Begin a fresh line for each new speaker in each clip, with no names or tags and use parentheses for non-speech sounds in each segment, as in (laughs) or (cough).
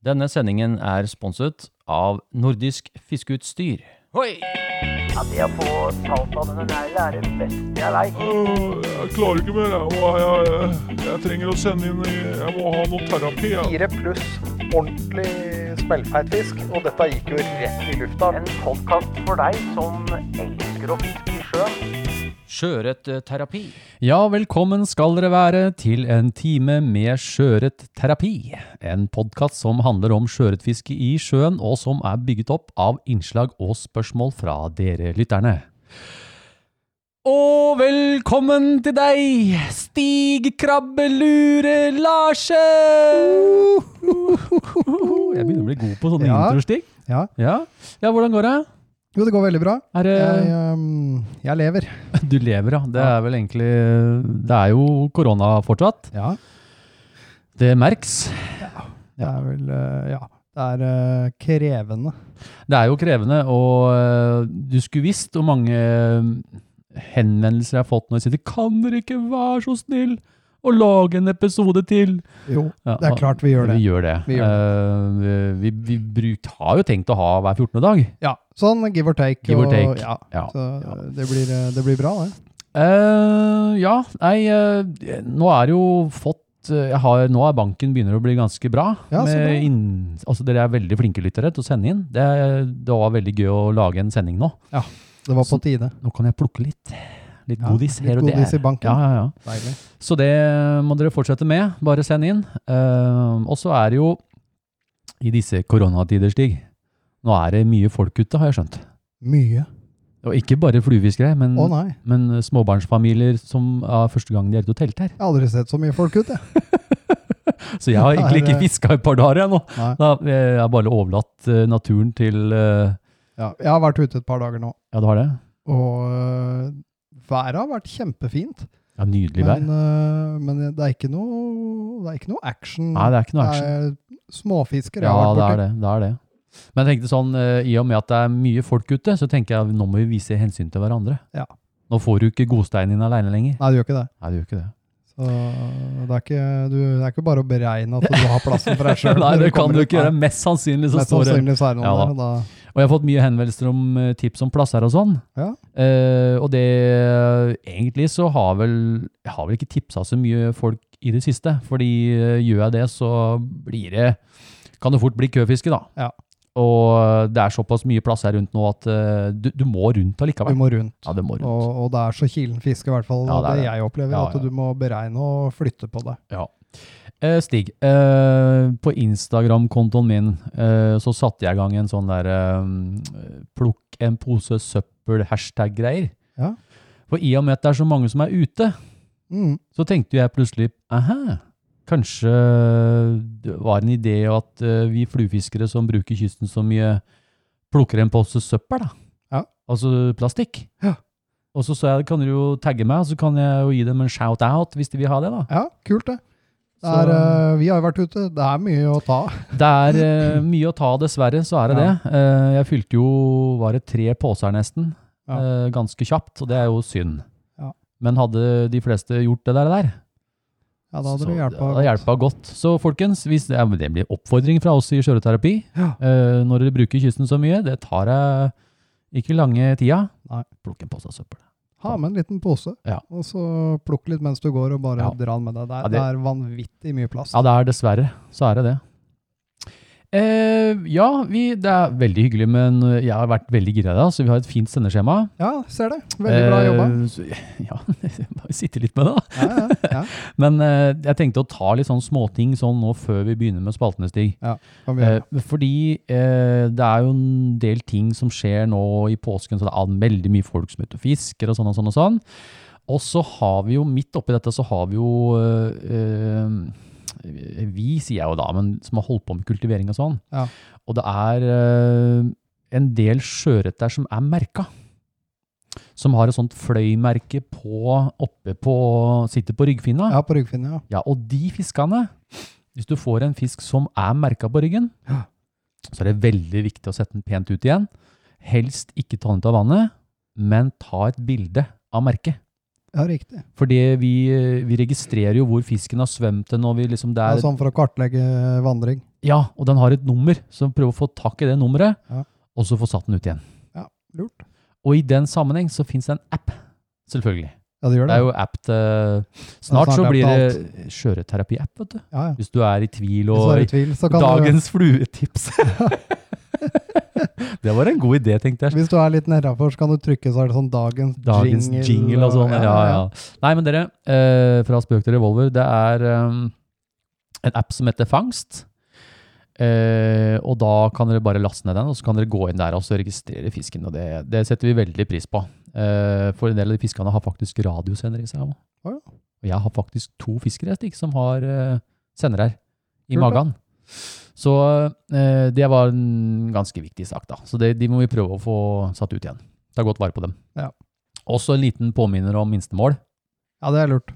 Denne sendingen er sponset av Nordisk Fiskeutstyr. Hoi!
Ja, det å få talt av denne neglen er det beste jeg veit.
Øh, Jeg klarer ikke mer. Jeg, må, jeg, jeg, jeg trenger å sende inn i, Jeg må ha noe terapi. Jeg.
fire pluss ordentlig smellfeit fisk, og dette gikk jo rett i lufta.
En podkast for deg som elsker å fiske i sjøen.
eh,
Sjøørretterapi.
Ja, velkommen skal dere være til en time med Sjøørretterapi. En podkast som handler om sjøørretfiske i sjøen, og som er bygget opp av innslag og spørsmål fra dere lytterne. Og velkommen til deg, Stig Krabbelure Larsen! Jeg begynner å bli god på sånne
Ja.
introer, Stig.
Ja.
ja. Ja, hvordan går det?
Jo, det går veldig bra.
Er det
Jeg, ehm, jeg lever.
Du lever, ja. Det er vel egentlig Det er jo korona fortsatt.
Ja.
Det merks.
Det er vel eh, Ja. Det er eh, krevende.
Det er jo krevende, og øh, du skulle visst hvor mange øh, henvendelser jeg har fått når jeg sier Kan dere ikke være så snill å lage en episode til?
Jo,
Ja,
det er
og-
klart vi gjør det.
Vi gjør det.
Vi gjør
Eh, vi vi bruk, har jo tenkt å ha hver 14. dag.
Ja, Sånn give or take.
Give or
og-
take.
Ja.
Ja.
Så eh, det blir, eh, det blir bra, det.
Eh, ja, nei, eh, nå er det jo fått eh, jeg har, nå er banken begynner å bli ganske bra.
Ja, så
med
bra.
inn- altså dere er veldig flinke lyttere til å sende inn. Det, det var veldig gøy å lage en sending nå.
Det var på
Så-
tide.
Nå kan jeg plukke litt. Litt
Ja,
godis
litt
her og der.
godis i banken.
Ja, ja, ja.
Deilig.
Så det må dere fortsette med. Bare send inn. Eh, og så er det jo i disse koronatider, Stig Nå er det mye folk ute, har jeg skjønt.
Mye.
Og ikke bare fluefiskere, men,
Å nei.
men småbarnsfamilier som er første gang de er ute og telter.
Jeg har aldri sett så mye folk ut, jeg.
(laughs) Så jeg har
Ja,
egentlig
det-
ikke fiska i et par dager, jeg nå.
Nei.
Da, jeg har bare overlatt eh, naturen til eh,
Ja, jeg har vært ute et par dager nå,
Ja, du har det?
og eh, været har vært kjempefint.
Ja, Nydelig vær.
Men, eh, men det er ikke noe, det er ikke noe action.
Nei, det er ikke noe action.
er småfisker. jeg
Ja,
har vært
det
borti.
er det. det er det. Men jeg tenkte sånn, eh, i og med at det er mye folk ute, så tenker jeg nå må vi vise hensyn til hverandre.
Ja.
Nå får du ikke godsteinen din alene lenger.
Nei, det gjør ikke det.
Nei, du gjør ikke det.
Så det er, ikke, du, det er ikke bare å beregne at du har plassen
(laughs)
for deg sjøl.
Nei, det kan du ikke gjøre. Mest sannsynlig så
Mest
står det.
sannsynlig så er det
Ja,
noen der. og
Og jeg har fått mye henvendelser om eh, tips om plasser og sånn.
Ja.
Eh, og det egentlig så har vel, jeg har vel ikke tipsa så mye folk i det siste. Fordi eh, gjør jeg det, så blir det Kan det fort bli køfiske, da.
Ja.
Og eh, det er såpass mye plasser rundt nå at eh, du, du må rundt
Da, du
allikevel.
må rundt.
Ja, det må rundt.
Og, og det er så kilen fiske, i hvert fall.
Ja,
det,
det er det.
jeg opplever,
Ja, ja.
at du må beregne og flytte på det.
Eh, Stig, eh, på Instagram-kontoen min eh, så satte jeg i gang en sånn der eh, plukk en pose søppel-hashtag-greier.
Ja.
For i og med at det er så mange som er ute,
Mm.
så tenkte jeg plutselig aha, kanskje det var en idé at eh, vi fluefiskere som bruker kysten så mye, plukker en pose søppel, da.
Ja.
Altså plastikk.
Ja.
Og så sa jeg, kan dere jo tagge meg, så kan jeg jo gi dem en shout-out hvis de vil ha det, da.
Ja, kult, det. det
Så-
er, eh, vi har jo vært ute. Det er mye å ta.
Det er eh, mye å ta, dessverre, så er det
Ja.
det. Eh, jeg fylte jo, var det tre poser nesten,
Ja.
eh, ganske kjapt, og det er jo synd.
Ja.
Men hadde de fleste gjort det der, der
Ja, da hadde
så
det hjulpet.
hadde det hjelpa godt. Så folkens, hvis, ja, men det blir oppfordring fra oss i Sjøreterapi.
Ja.
Eh, når dere bruker kysten så mye, det tar eh, ikke lange tida.
Nei.
Plukk en pose av søppel.
Ha med en liten pose,
Ja.
og så plukk litt mens du går, og bare
Ja.
dra den med deg. Det er,
Ja, det-
det... er vanvittig mye plass.
Ja, det er dessverre. Så er det det. Eh, ja, vi, det er veldig hyggelig, men jeg har vært veldig gira i dag, så vi har et fint sendeskjema.
Ja, ser det. Veldig bra jobba.
Eh, så- (laughs) ja, (laughs) jeg bare sitte litt med det, da.
Ja, ja, ja.
Men eh, jeg tenkte å ta litt sånn småting sånn nå før vi begynner med spaltene, Stig.
Kan vi
Eh,
gjøre.
fordi eh, det er jo en del ting som skjer nå i påsken, så det er veldig mye folk som er ute og fisker og sånn og sånn og sånn. Og så har vi jo, midt oppi dette, så har vi jo eh, eh, Vi, sier jeg jo da, men som har holdt på med kultivering og sånn.
Ja.
Og det er eh, en del sjøørret der som er merka. Som har et sånt fløymerke på, oppe på Sitter på ryggfinna.
ja, på ryggfinne, ja.
Ja, og de fiskene, hvis du får en fisk som er merka på ryggen,
Ja.
så er det veldig viktig å sette den pent ut igjen. Helst ikke ta den ut av vannet, men ta et bilde av merket.
Ja, riktig.
For det vi, vi registrerer jo hvor fisken har svømt hen, og vi liksom det
Det
er
er sånn for å kartlegge vandring.
Ja, og den har et nummer, så prøv å få tak i det nummeret,
Ja.
og så få satt den ut igjen.
Lurt.
Og i den sammenheng så fins det en app, selvfølgelig.
Ja, det gjør
Det
det.
er jo app til Snart
snart
så
app
blir
til
det skjøreterapi-app, vet du.
ja, ja.
Hvis du er i tvil
Hvis du er i
og
tvil, så kan
Dagens (laughs) fluetips. det var en god idé, tenkte
du
jeg.
Hvis du er litt nedafor, så kan du trykke så er det sånn dagens,
Dagens jingle, og sånn. Ja, ja. Nei, men dere, eh, fra spøk til revolver, det er eh, en app som heter Fangst. Eh, og da kan dere bare laste ned den, og så kan dere gå inn der og så registrere fisken. Og det, det setter vi veldig pris på. Eh, for en del av de fiskene har faktisk radiosender i seg også.
Å ja.
Og jeg har faktisk to fiskere jeg, Stig, som har eh, sender her i
Kult, da.
magen. Så eh, det var en ganske viktig sak, da. Så det, de må vi prøve å få satt ut igjen. Ta godt vare på dem.
Ja.
Også en liten påminner om minstemål.
Ja, det er lurt.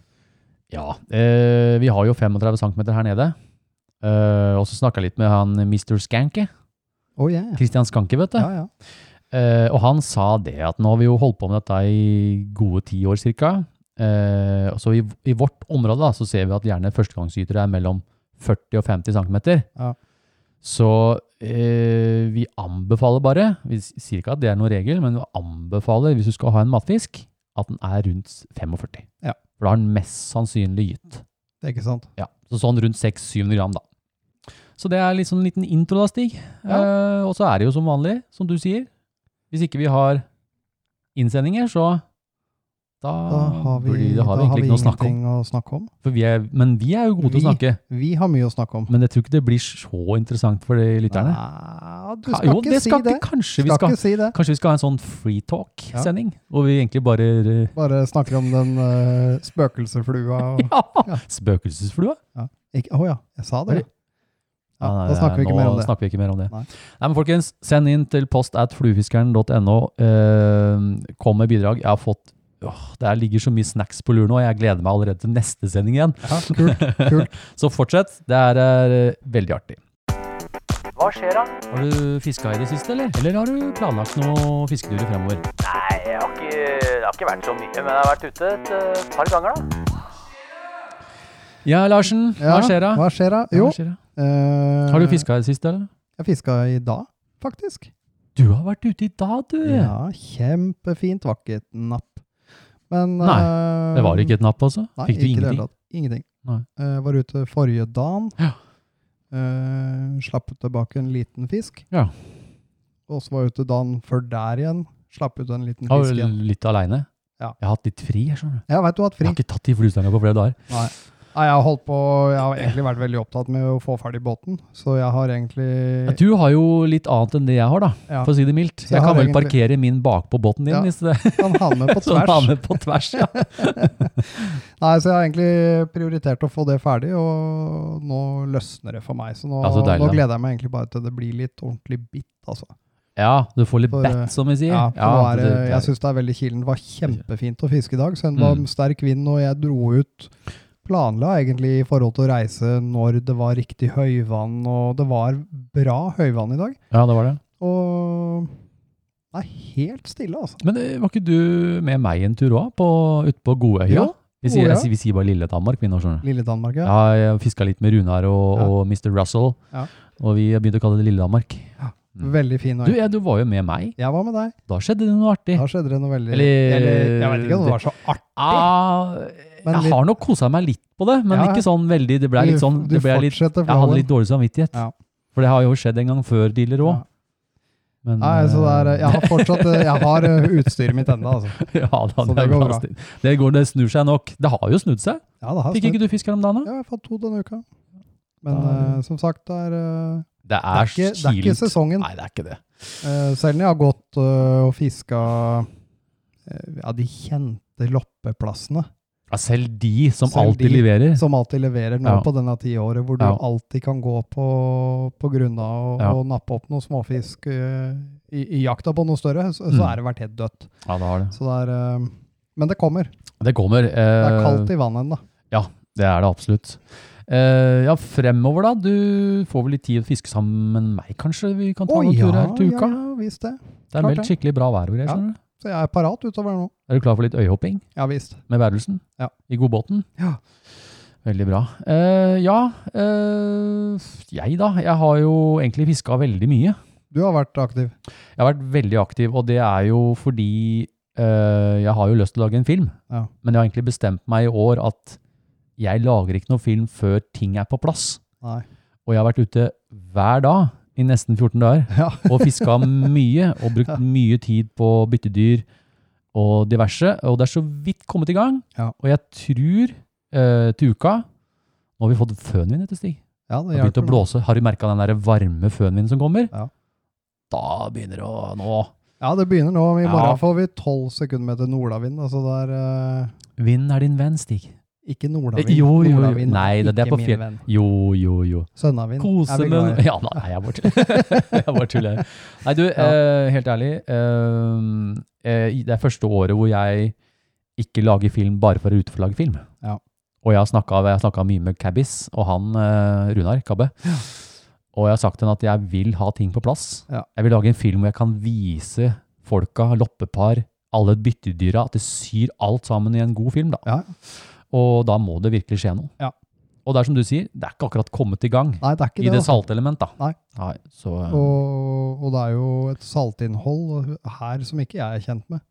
Ja, eh, vi har jo 35 cm her nede. Eh, og så snakka jeg litt med han Mr. Skanke.
Å, Oh, yeah.
Christian Skanke, vet du.
ja, ja.
Eh, og han sa det at nå har vi jo holdt på med dette i gode ti år cirka. Eh, og så i, i vårt område da, så ser vi at gjerne førstegangsytere er mellom 40 og 50 cm.
Ja.
Så eh, vi anbefaler bare, vi s- sier ikke at det er noen regel, men vi anbefaler hvis du skal ha en matfisk, at den er rundt 45.
Ja.
For da har den mest sannsynlig gitt.
Det er ikke sant.
Ja, så sånn rundt 600-700 gram da. Så det er liksom en liten intro da, Stig. Eh, og så er det jo som vanlig, som du sier. Hvis ikke vi har innsendinger, så da,
Da har vi,
blir det- har
da
vi egentlig ikke noe å snakke om.
ingenting å snakke om.
For vi er, men vi er jo gode til å
Vi-
snakke.
Vi har mye å snakke om.
Men jeg tror ikke det blir så interessant for de lytterne.
Nei, Ah, du
Ka-
skal
jo,
ikke si
skal
det.
ikke- Kanskje vi
Skal
skal,
ikke si det.
kanskje vi skal ha en sånn free talk-sending, hvor vi egentlig bare eh,
Bare snakker om den eh, spøkelsesflua og
(laughs) ja, spøkelsesflua.
Ikke- Å ja, jeg sa det. Ja,
Nei, nei,
da snakker vi ikke
Ah, nå
mer om det.
snakker vi ikke mer om det.
Nei.
Nei. men folkens, send inn til post at fluefiskeren.no. Eh, kom med bidrag. Jeg har fått åh, Det her ligger så mye snacks på lur nå. Jeg gleder meg allerede til neste sending igjen.
Ja, kult. kult.
så fortsett. Det her er eh, veldig artig.
Hva skjer da?
Har du fiska i det siste, eller? Eller har du planlagt noen fisketurer fremover?
Nei, jeg har ikke, det har ikke vært så mye, men jeg har vært ute et eh, par ganger da.
Ja, Larsen.
Ja,
hva skjer da?
Hva skjer da?
Ja,
Jo,
hva skjer da?
eh,
Har du fiska i det siste, eller?
Jeg fiska i dag, faktisk.
Du har vært ute i dag, du.
Ja, kjempefint. Var ikke et napp. Men eh,
Det var ikke et napp, altså?
Nei,
Fikk du
ikke i det hele
ingenting?
tatt. Ingenting.
Nei.
Eh, var ute forrige dagen.
Ja.
Eh, slapp ut tilbake en liten fisk.
Ja.
Og så var jeg ute dagen før der igjen. Slapp ut en liten
Jeg var
fisk igjen.
litt aleine.
Ja.
Jeg har hatt litt fri, jeg skjønner.
Ja, veit du hatt
Jeg
fri.
har ikke tatt i fluestanga på flere dager.
Nei. Nei, jeg har holdt på Jeg har egentlig vært veldig opptatt med å få ferdig båten, så jeg har egentlig
Ja, du har jo litt annet enn det jeg har, da.
Ja.
For å si det mildt.
Så
Jeg,
jeg
kan
har
vel
egentlig-
parkere min bakpå båten din,
Ja,
hvis det
kan ha
(laughs)
med på
sånn
tvers.
havner på tvers.
(laughs)
Ja.
Nei, så jeg har egentlig prioritert å få det ferdig, og nå løsner det for meg. Så nå,
Ja, så deilig,
nå
da.
gleder jeg meg egentlig bare til det blir litt ordentlig bitt, altså.
ja, du får litt
For,
bat, som vi sier.
Ja, for nå er,
for
det-
det-
jeg syns det er veldig kilen. Det var kjempefint å fiske i dag. Søndag
Mm.
sterk vind, og jeg dro ut Planla egentlig i forhold til å reise når det var riktig høyvann, og det var bra høyvann i dag.
ja, det var det.
Og det er helt stille, altså.
Men eh, var ikke du med meg en tur òg, ute på Godøya?
Jo,
Vi sier,
Godøya.
jeg sier- vi sier bare Lille Danmark, vi nå, skjønner du.
Lille Danmark, ja.
Ja, jeg fiska litt med Runar og,
Ja.
og Mr. Russell,
Ja.
og vi begynte å kalle det Lille Danmark. Mm.
Veldig fin
Du,
øy.
ja, du var jo med meg.
Jeg var med deg.
Da skjedde det noe artig.
Da skjedde det noe veldig
Eller-
jeg vet ikke om det var så artig.
Ah,
Men
jeg
litt-
har nok kosa meg litt på det, men
Ja, ja.
ikke sånn veldig. Det ble litt sånn,
Du-
det
du
ble litt,
fortsetter
jeg hadde
flowen.
litt dårlig samvittighet.
Ja.
For det har jo skjedd en gang før dealer òg.
Ja. Nei, så det
(laughs)
er, jeg har fortsatt Jeg har eh, utstyret mitt ennå, altså.
ja, da,
så
det,
det
er
går
bra.
bra.
Stig. Det, går, det snur seg nok. Det har jo snudd seg.
Ja, det har
Fikk
snudd.
ikke du fisk her om dagen? da?
Ja, jeg har fått to denne uka. Men
Da-
eh, som sagt, det er, eh,
Det
det er,
er,
ikke, det er ikke
kilent.
sesongen.
Nei, det er ikke det.
Eh, selv om jeg har gått eh, og fiska eh, ja, de kjente loppeplassene
Ja, selv de som
Selv
alltid
de
leverer.
som alltid leverer nå
Ja.
på denne tiåret, hvor du
Ja.
alltid kan gå på, på grunna og,
Ja.
og nappe opp noen småfisk eh, i, i jakta på noe større, så, så
Mm.
er det vært helt dødt.
Ja, det har det.
Så det er, eh, men det kommer.
Det kommer.
Det
Eh,
er kaldt i vannet ennå.
Det er det absolutt. Eh, ja, fremover, da. Du får vel litt tid å fiske sammen med meg, kanskje? Vi kan ta noen turer her til uka.
ja, visst det.
Det er
klart
meldt skikkelig bra vær og greier.
Ja.
skjønner du?
Så jeg er parat utover nå.
Er du klar for litt øyehopping
Ja visst.
med værelsen?
Ja.
I godbåten?
Ja.
Veldig bra. Eh, ja, eh, jeg da. Jeg har jo egentlig fiska veldig mye.
Du har vært aktiv.
Jeg har vært veldig aktiv, og det er jo fordi eh, jeg har jo lyst til å lage en film.
Ja.
Men jeg har egentlig bestemt meg i år at jeg lager ikke noen film før ting er på plass.
Nei. (laughs)
Og jeg har vært ute hver dag i nesten 14 dager
Ja.
og fiska (laughs) mye, og brukt mye tid på byttedyr og diverse. Og det er så vidt kommet i gang.
Ja.
Og jeg tror eh, til uka Nå har vi fått fønvind, vet du, Stig.
Ja,
Det
det
har begynt å
hjelper. nå.
blåse. Har du merka den der varme fønvinden som kommer?
Ja.
Da begynner det å nå
Ja, det begynner nå. I
Ja.
morgen får vi 12 sekundmeter nordavind. Altså det er eh,
Vinden er din venn, Stig.
ikke nordavind.
Eh, jo, jo, jo.
Nordavind,
Nei, det- det er
ikke
på
min
fjell.
venn.
Jo, jo, jo.
Sønnavind.
Kose
er vi glad
med
i.
Ja, nei, jeg bare tuller. (laughs) Jeg bare tuller. Nei, du, eh, helt ærlig. eh, eh, det er første året hvor jeg ikke lager film bare for å ut for å lage film.
Ja.
Og jeg har snakka jeg har snakket mye med Cabbis og han eh, Runar Kabbe. Og jeg har sagt til han at jeg vil ha ting på plass.
Ja.
Jeg vil lage en film hvor jeg kan vise folka, loppepar, alle byttedyra, at det syr alt sammen i en god film. da.
Ja.
Og da må det virkelig skje noe.
Ja.
Og det er som du sier, det er ikke akkurat kommet i gang
Nei, det er ikke
i
det.
det
altså.
saltelement, da.
Nei.
så, um,
Og, og det er jo et saltinnhold her som ikke jeg er kjent med.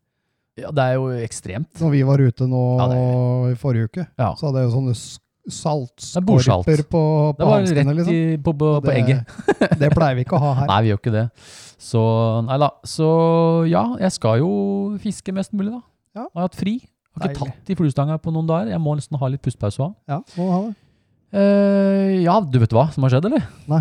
ja, det er jo ekstremt.
Når vi var ute nå
Ja,
i forrige uke,
Ja.
så hadde jeg jo sånne s- saltskorper
bordsalt.
på,
Det
på
var rett
hanskene, liksom.
i, på, på,
Og
på egget.
(laughs) det pleier vi ikke å ha her.
Nei, vi gjør ikke det. Så nei da. Så ja, jeg skal jo fiske mest mulig, da. Og
Ja.
jeg har hatt fri. Har ikke
Deilig.
tatt i fluestanga på noen dager. Jeg må nesten ha litt pustepause òg.
Ja, må ha det.
Eh, ja, du vet hva som har skjedd, eller?
Nei.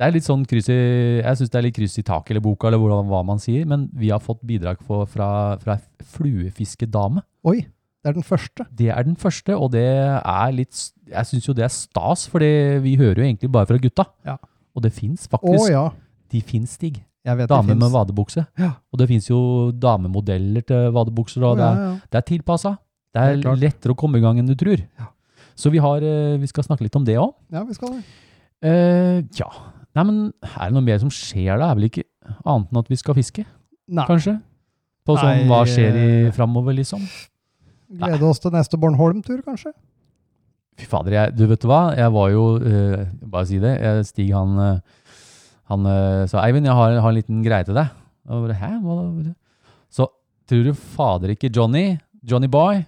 Det er litt sånn kryss i, jeg syns det er litt kryss i taket eller boka, eller hvordan, hva man sier, men vi har fått bidrag for, fra, fra ei fluefiskedame.
Oi, det er den første.
Det er den første, og det er litt s- Jeg syns jo det er stas, for vi hører jo egentlig bare fra gutta.
Ja.
Og det fins
Å
faktisk.
ja,
De fins, Stig.
jeg vet
Damer
det
med
finnes.
vadebukse.
Ja.
Og det fins jo damemodeller til vadebukser, og
Å,
det er
ja, ja.
det er tilpassa. Det er
Helt klart.
lettere å komme i gang enn du tror.
Ja.
Så vi, har, eh, vi skal snakke litt om det òg.
ja, vi skal det.
Eh, ja. Nei, men er det noe mer som skjer da? Er vel ikke annet enn at vi skal fiske,
Nei,
kanskje? På sånn
Nei,
hva skjer i
eh,
framover, liksom?
glede oss til neste Bornholm-tur, kanskje?
Fy fader, jeg, du vet hva? Jeg var jo eh, Bare si det. Jeg, Stig, han, eh, han eh, sa Eivind, jeg har, har en liten greie til deg. Og jeg bare, Hæ? Hva da? Så tror du fader ikke Johnny, Johnny Boy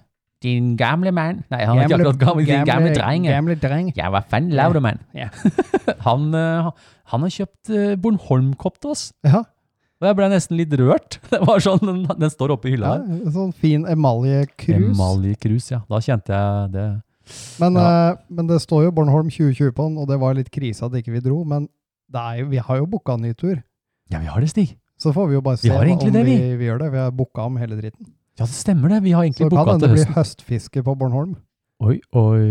Din gamle mann Nei, han er ikke akkurat gammel. Din gamle dreng. eh. ja.
Gamle dreng.
Ja, hva faen laver du, mann?
Ja.
(laughs) han, eh, han har kjøpt eh, Bornholm-kopp til oss.
Ja,
Og jeg ble nesten litt rørt. (laughs) Det var sånn, Den, den står oppe i
ja,
hylla her.
sånn fin emaljekrus.
Emaljekrus, ja. Da kjente jeg det.
Men,
Ja.
eh, men det står jo Bornholm 2020 på den, og det var litt krise at ikke vi dro. Men det er jo, vi har jo booka en ny tur.
Ja, vi har det, Stig.
Så får vi jo bare se
Vi har egentlig
om
det,
vi,
vi.
vi gjør det. Vi har booka om hele dritten.
Ja, det stemmer det. Vi har
Så
egentlig
kan
booka
hende
til
det blir
høsten.
høstfiske på Bornholm.
Oi, oi.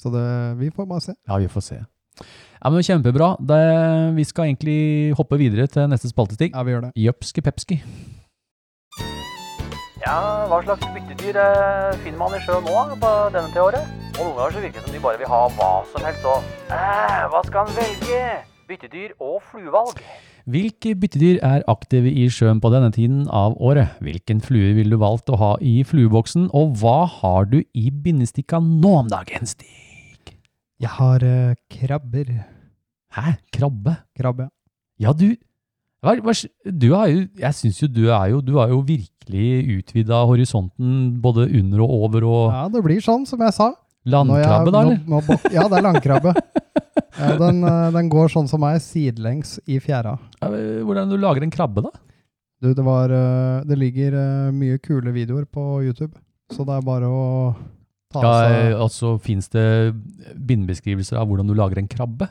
Så det, vi får bare se.
Ja, vi får se. Ja, men Kjempebra. Det, vi skal egentlig hoppe videre til neste spaltestig.
Ja, vi gjør det.
Jøpski pepski.
Ja, hva slags byttedyr eh, finner man i sjøen nå eh, på denne til året? Og noen ganger så virker det som de bare vil ha hva som helst og eh, Hva skal en velge? Byttedyr og fluevalg.
Hvilke byttedyr er aktive i sjøen på denne tiden av året? Hvilken flue ville du valgt å ha i flueboksen, og hva har du i bindestikka nå om dagen, Stig?
Jeg har eh, krabber.
Hæ, krabbe?
Krabbe.
Ja, du hva, hva, Du er jo Jeg syns jo du er jo Du har jo virkelig utvida horisonten både under og over, og
Ja, det blir sånn, som jeg sa. Når jeg-
landkrabbe, da, eller?
nå- nå bak- ja, det
(laughs)
er landkrabbe. Ja, den, eh, den går sånn som meg, sidelengs i fjæra.
Ja, men Hvordan du lager en krabbe, da?
Du, det, var, eh, det ligger eh, mye kule videoer på YouTube, så det er bare å ta
Ja,
seg
og så fins det bindebeskrivelser av hvordan du lager en krabbe.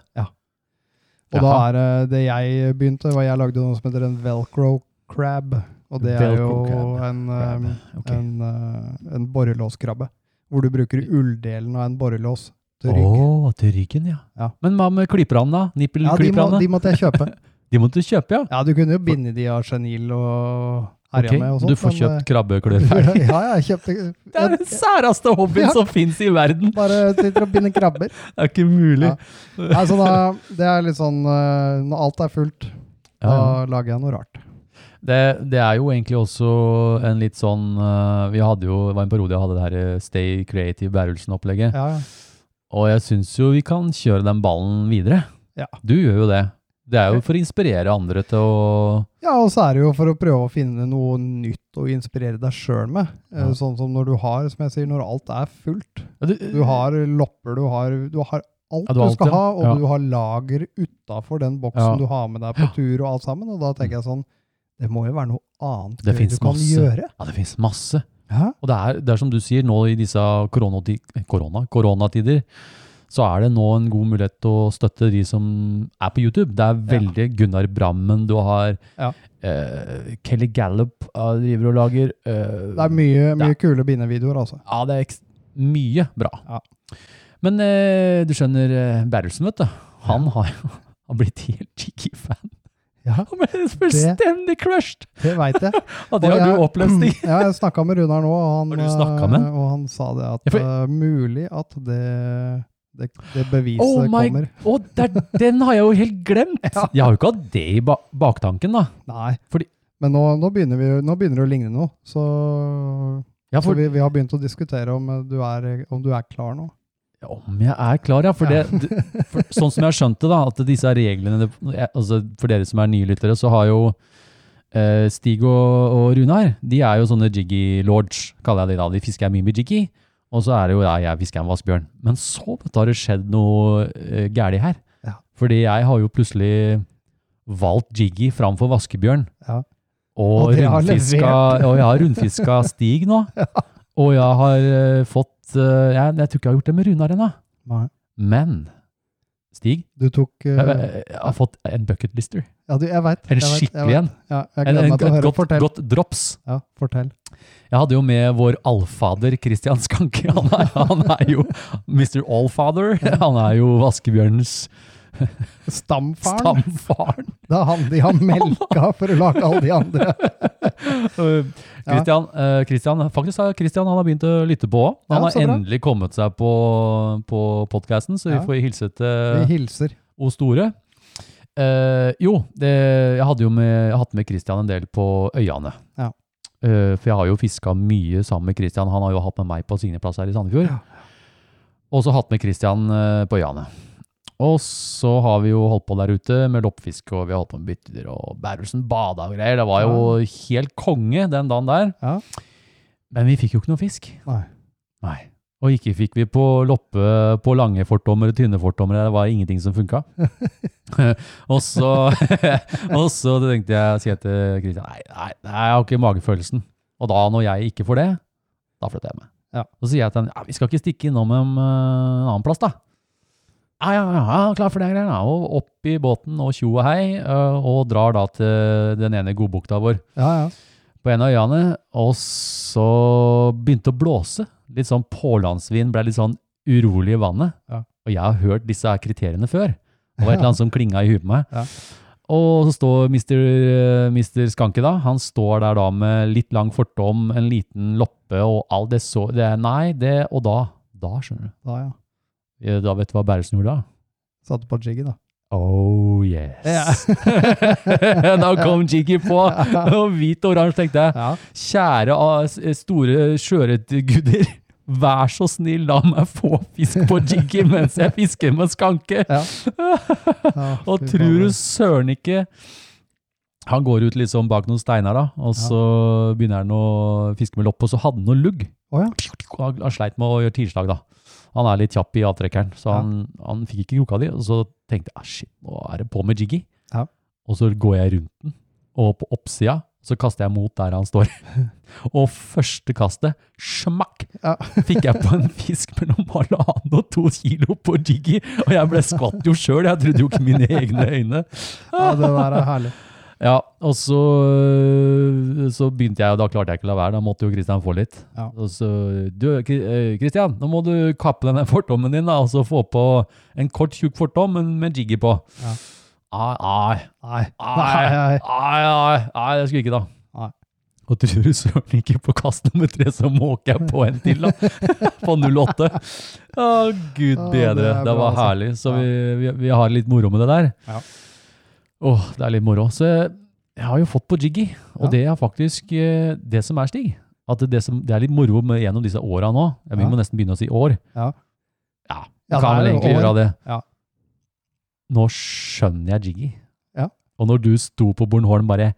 Og da
Jaha.
er det det jeg begynte, var jeg lagde noe som heter en velcro crab. Og det er
Velcro
jo
crab.
en,
Krabbe,
eh,
ok.
en, eh, en borrelåskrabbe. Hvor du bruker ulldelen av en borrelås til rygg.
Å, til ryggen, ja.
Ja.
Men hva med klipperne, da?
Ja, de, må,
Nippelklipperne?
de måtte jeg kjøpe.
De måtte du kjøpe, ja.
Ja, du kunne jo binde de av chenil og herja
Ok,
med og sånt.
Du får
men,
kjøpt (laughs)
eh,
krabbeklør ferdig.
(laughs) ja, ja, jeg kjøpte
(laughs) Det er
jeg
den særeste hobbyen
Ja.
som fins i verden!
Bare sitter og binder krabber.
Det er ikke mulig.
Ja. Nei, så da, det er litt sånn eh, Når alt er fullt, da
Ja, ja.
lager jeg noe rart.
Det, det er jo egentlig også en litt sånn eh, Vi hadde jo, det var en periode jeg hadde det her eh, Stay Creative Bærelsen-opplegget.
Ja, ja.
Og jeg syns jo vi kan kjøre den ballen videre.
Ja.
Du gjør jo det. Det er jo for å inspirere andre til å
Ja, og så er det jo for å prøve å finne noe nytt å inspirere deg sjøl med. Eh,
Ja.
Sånn som når du har, som jeg sier, når alt er fullt.
Ja, du,
Du har lopper, du har, du har
Ja,
alt du,
du har alt, ja.
skal ha, og
Ja.
du har lager utafor den boksen
Ja.
du har med deg på tur og alt sammen. Og da tenker jeg sånn, det må jo være noe annet
Det
gøy
finnes
du kan
masse.
gjøre.
ja, det fins masse.
Ja.
Og det er, det er som du sier, nå i disse koronati- eh, korona, koronatider, så er det nå en god mulighet til å støtte de som er på YouTube. Det er veldig Gunnar Brammen, du har
Ja.
eh, Kelly Gallup eh, driver og lager. eh,
Det er mye, mye kule bindevideoer, altså.
ja, det er ekst- mye bra.
Ja.
Men eh, du skjønner, eh, Bertelsen, vet du, han har jo (laughs) har blitt helt Jiggy-fan.
Ja,
Han ble fullstendig crushed!
det veit
(laughs)
jeg.
Og det
Og
har
jeg-
du opplevd, Stig.
(clears throat) Ja, jeg snakka med Runar nå, og han,
Har du snakket med han?
eh, og han sa det at
Ja, for-
eh, mulig at det, det, det beviset
Oh my-
kommer.
Og der, den har jeg jo helt glemt! Jeg har jo ikke hatt det i ba baktanken, da.
Nei.
Fordi-
Men nå, nå, begynner vi, nå begynner det å ligne noe. Så,
Ja,
så
for,
vi, vi har begynt å diskutere om eh, du er, om du er klar nå.
om jeg er klar, ja. For,
Ja.
Det, det- for sånn som jeg skjønte, da, at disse her reglene det- jeg- altså For dere som er nylyttere, så har jo eh, Stig og, og Runar De er jo sånne jiggy lords, kaller jeg de da. De fisker mye med jiggy. Og så er det jo ja, jeg fisker en vassbjørn. Men så vet du, har det skjedd noe eh, gærlig her.
Ja.
Fordi jeg har jo plutselig valgt jiggy framfor vaskebjørn.
Ja.
Og,
Og det har
rundfiska,
levert.
og jeg har rundfiska Stig
(laughs)
nå. Og jeg har eh, fått eh, jeg, jeg tror ikke jeg har gjort det med Runar ennå.
Nei.
Men Stig,
Du tok eh,
jeg, jeg, jeg har fått en bucketlister.
Ja, du, jeg veit.
En skikkelig en.
Ja, jeg
En,
gleder
en,
meg til å
et
høre.
godt,
fortell.
godt drops.
Ja, fortell.
Jeg hadde jo med vår allfader Christian Skanke. Han er, han er jo Mr. Allfather. Han er jo vaskebjørnens
Stamfaren.
stamfaren.
Det er han de
(laughs)
har melka for å lage alle de andre.
Uh, Christian, eh, Christian, faktisk har Christian han har begynt å lytte på òg. Han
Ja,
har
så bra.
endelig kommet seg på, på podkasten, så
Ja.
vi får hilse
Vi
til
hilser.
O Store. Eh, jo, det, jeg hadde jo med, jeg har hatt med Christian en del på øyene.
Ja.
Eh, for jeg har jo fiska mye sammen med Christian. Han har jo hatt med meg på Signeplass her i Sandefjord.
Ja.
Og så hatt med Christian eh, på øyene. Og så har vi jo holdt på der ute med loppfiske, og vi har holdt på med byttedyr og Berelsen bada og greier. Det var jo helt konge den dagen der.
Ja.
Men vi fikk jo ikke noe fisk.
Nei.
Nei. Og ikke fikk vi på loppe på lange fortommer og tynne fortommer. Det var ingenting som funka. og, så, (laughs) og så tenkte jeg sier jeg til Christian nei, nei, nei, jeg har ikke magefølelsen. Og da, når jeg ikke får det, da flytter jeg meg.
Ja.
Og så sier jeg til han ja, vi skal ikke stikke innom en, eh, en annen plass, da. Ja, ja, ja, ja, klar for det greiene. Og opp i båten og tjo og hei, eh, og drar da til den ene godbukta vår
Ja, ja.
på en av øyene, og så begynte å blåse. Litt sånn pålandsvind, ble litt sånn urolig i vannet.
Ja.
Og jeg har hørt disse her kriteriene før. Det var et eller
(laughs)
annet som klinga i huet på meg.
Ja.
Og så står Mr. eh, Mr. Skanke da, han står der da med litt lang fortom, en liten loppe og all det så det, er- Nei, det Og da, da skjønner du.
Da, ja.
Eh, Da vet du hva Berresen gjorde da?
Satte på jiggy, da.
Oh yes. (laughs) da kom Jiggy
(laughs)
på, og hvit og oransje tenkte jeg.
Ja.
Kjære ah, s- store sjøørretguder, vær så snill, la meg få fisk på jiggy mens jeg fisker med skanke.
Ja,
(laughs) Og
fy
tror du
faen.
søren ikke Han går ut liksom bak noen steiner, da, og så begynner han å fiske med lopp, og så hadde han noe lugg.
Å ja.
Han han sleit med å gjøre tilslag, da. Han er litt kjapp i avtrekkeren, så
Ja.
han, han fikk ikke kroka di. Og så tenkte jeg ah, shit, nå er det på med jiggy.
Ja.
Og så går jeg rundt den, og på oppsida så kaster jeg mot der han
(laughs)
står. og første kastet, smakk,
Ja.
fikk jeg på en fisk mellom halvannen og to kilo på jiggy. Og jeg ble skvatt jo sjøl, jeg trodde jo ikke mine egne øyne.
Ja, det der er herlig.
Ja, og så, øh, så begynte jeg, og da klarte jeg ikke å la være. Da måtte jo Kristian få litt.
Ja.
Og så, du, Kristian, nå må du kappe denne fortommen din, da, og så få på en kort, tjukk fortom men med jiggy på. Ah,
Ja.
Ai, ai,
Nei.
ai,
Nei.
ai, ai, ai, det skulle ikke da.
Nei.
Og tror du søren ikke på kast nummer tre, så måker jeg på en
(laughs)
til, da. På 08. Å, gud
Å, det er
bedre. Det,
bra,
var
altså.
herlig. Så
Ja.
vi, vi, vi har litt moro med det der.
Ja.
Åh, det er litt moro. Så jeg, jeg har jo fått på Jiggy, og
Ja.
det er faktisk eh, det som er Stig. At det, som, det er litt moro med gjennom disse åra nå. Ja, vi
Ja.
må nesten begynne å si år.
Ja.
Ja,
Ja,
kan
det
vel
er jo
egentlig gjøre
over.
det.
Ja.
Nå skjønner jeg Jiggy.
Ja.
Og når du sto på Bornholm bare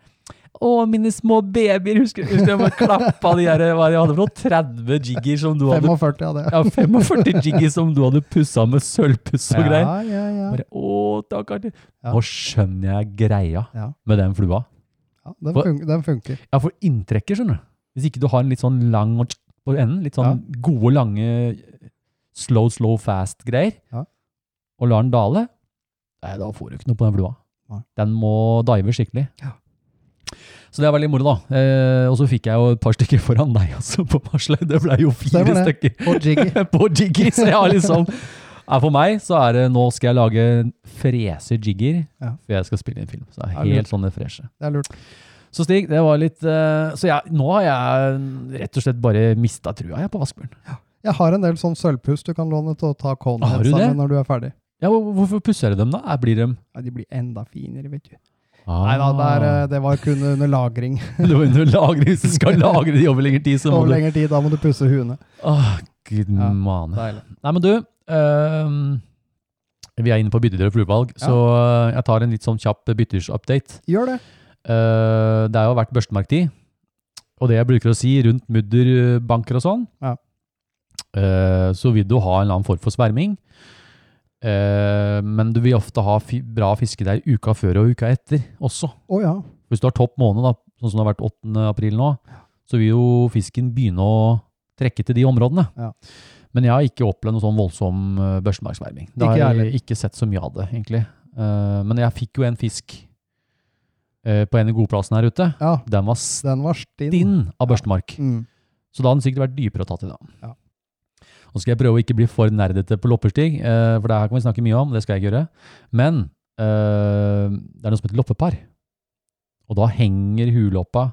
å, mine små babyer! Husker husker du jeg bare klappa de her Hva er det jeg hadde for noe? 30 jigger som du hadde
45 av det.
ja, 45 jigger som du hadde pussa med sølvpuss og greier.
Ja, ja, ja.
Bare, å, takk, Arthur.
Ja.
Nå skjønner jeg greia
Ja.
med den flua.
ja den,
For-
funker, den funker.
Ja, for inntrekker, skjønner du. Hvis ikke du har en litt sånn lang og tsk på enden, litt sånn gode, lange slow, slow, fast-greier,
Ja.
og lar den dale, nei, da får du ikke noe på den flua.
Nei.
Den må dive skikkelig.
Ja.
Så det er veldig moro, da. Eh, og så fikk jeg jo et par stykker foran deg også på Marsløy. Det ble jo fire
Stemmer det.
stykker (laughs)
Og jiggy.
på Jiggy, så jeg har liksom ja, For meg så er det nå skal jeg lage frese jigger
Ja.
før jeg skal spille inn film. Så det
Ja,
er helt sånne freshe.
Det er lurt.
Så Stig, det var litt eh, Så jeg, nå har jeg rett og slett bare mista trua jeg på Asbjørn.
Jeg har en del sånn sølvpuss du kan låne til å ta
Har du
kålen
det?
sammen når du er ferdig.
Ja, hvor- Hvorfor pusser du dem, da? Er- Blir dem
Ja, de blir enda finere, vet du. Nei da, det,
Ah.
er, eh, det var kun under
(laughs)
lagring. (laughs)
Det var under lagring. Hvis du skal lagre de over lengre tid, så må
Over
du
lengre tid, da må du pusse huene.
Åh, gud
Ja.
mane.
Deilig.
Nei, men du ehm, Vi er inne på byttedyr og fluevalg, så jeg tar en litt sånn kjapp byttedyrsupdate.
Gjør det.
Eh, det har jo vært børstemarktid, og det jeg bruker å si rundt mudderbanker og sånn,
Ja.
eh, så vil du ha en eller annen form for sverming, Eh, men du vil ofte ha fi bra fiske der uka før og uka etter også.
Å ja.
Hvis du har topp måned, da, sånn som det har vært 8. april nå, så vil jo fisken begynne å trekke til de områdene.
Ja.
Men jeg har ikke opplevd noe sånn voldsom eh, børstemarksverming. Det
Ikke jeg
har jeg ikke sett så mye av det, egentlig. Eh, men jeg fikk jo en fisk eh, på en av godplassene her ute.
ja.
Den var stinn
Den var stinn.
av
Ja.
børstemark.
Mm.
Så da hadde den sikkert vært dypere å ta til da.
Ja.
Nå skal jeg prøve å ikke bli for nerdete på loppestig, eh, for det her kan vi snakke mye om, det skal jeg ikke gjøre. Men eh, det er noe som heter loppepar. Og da henger huloppa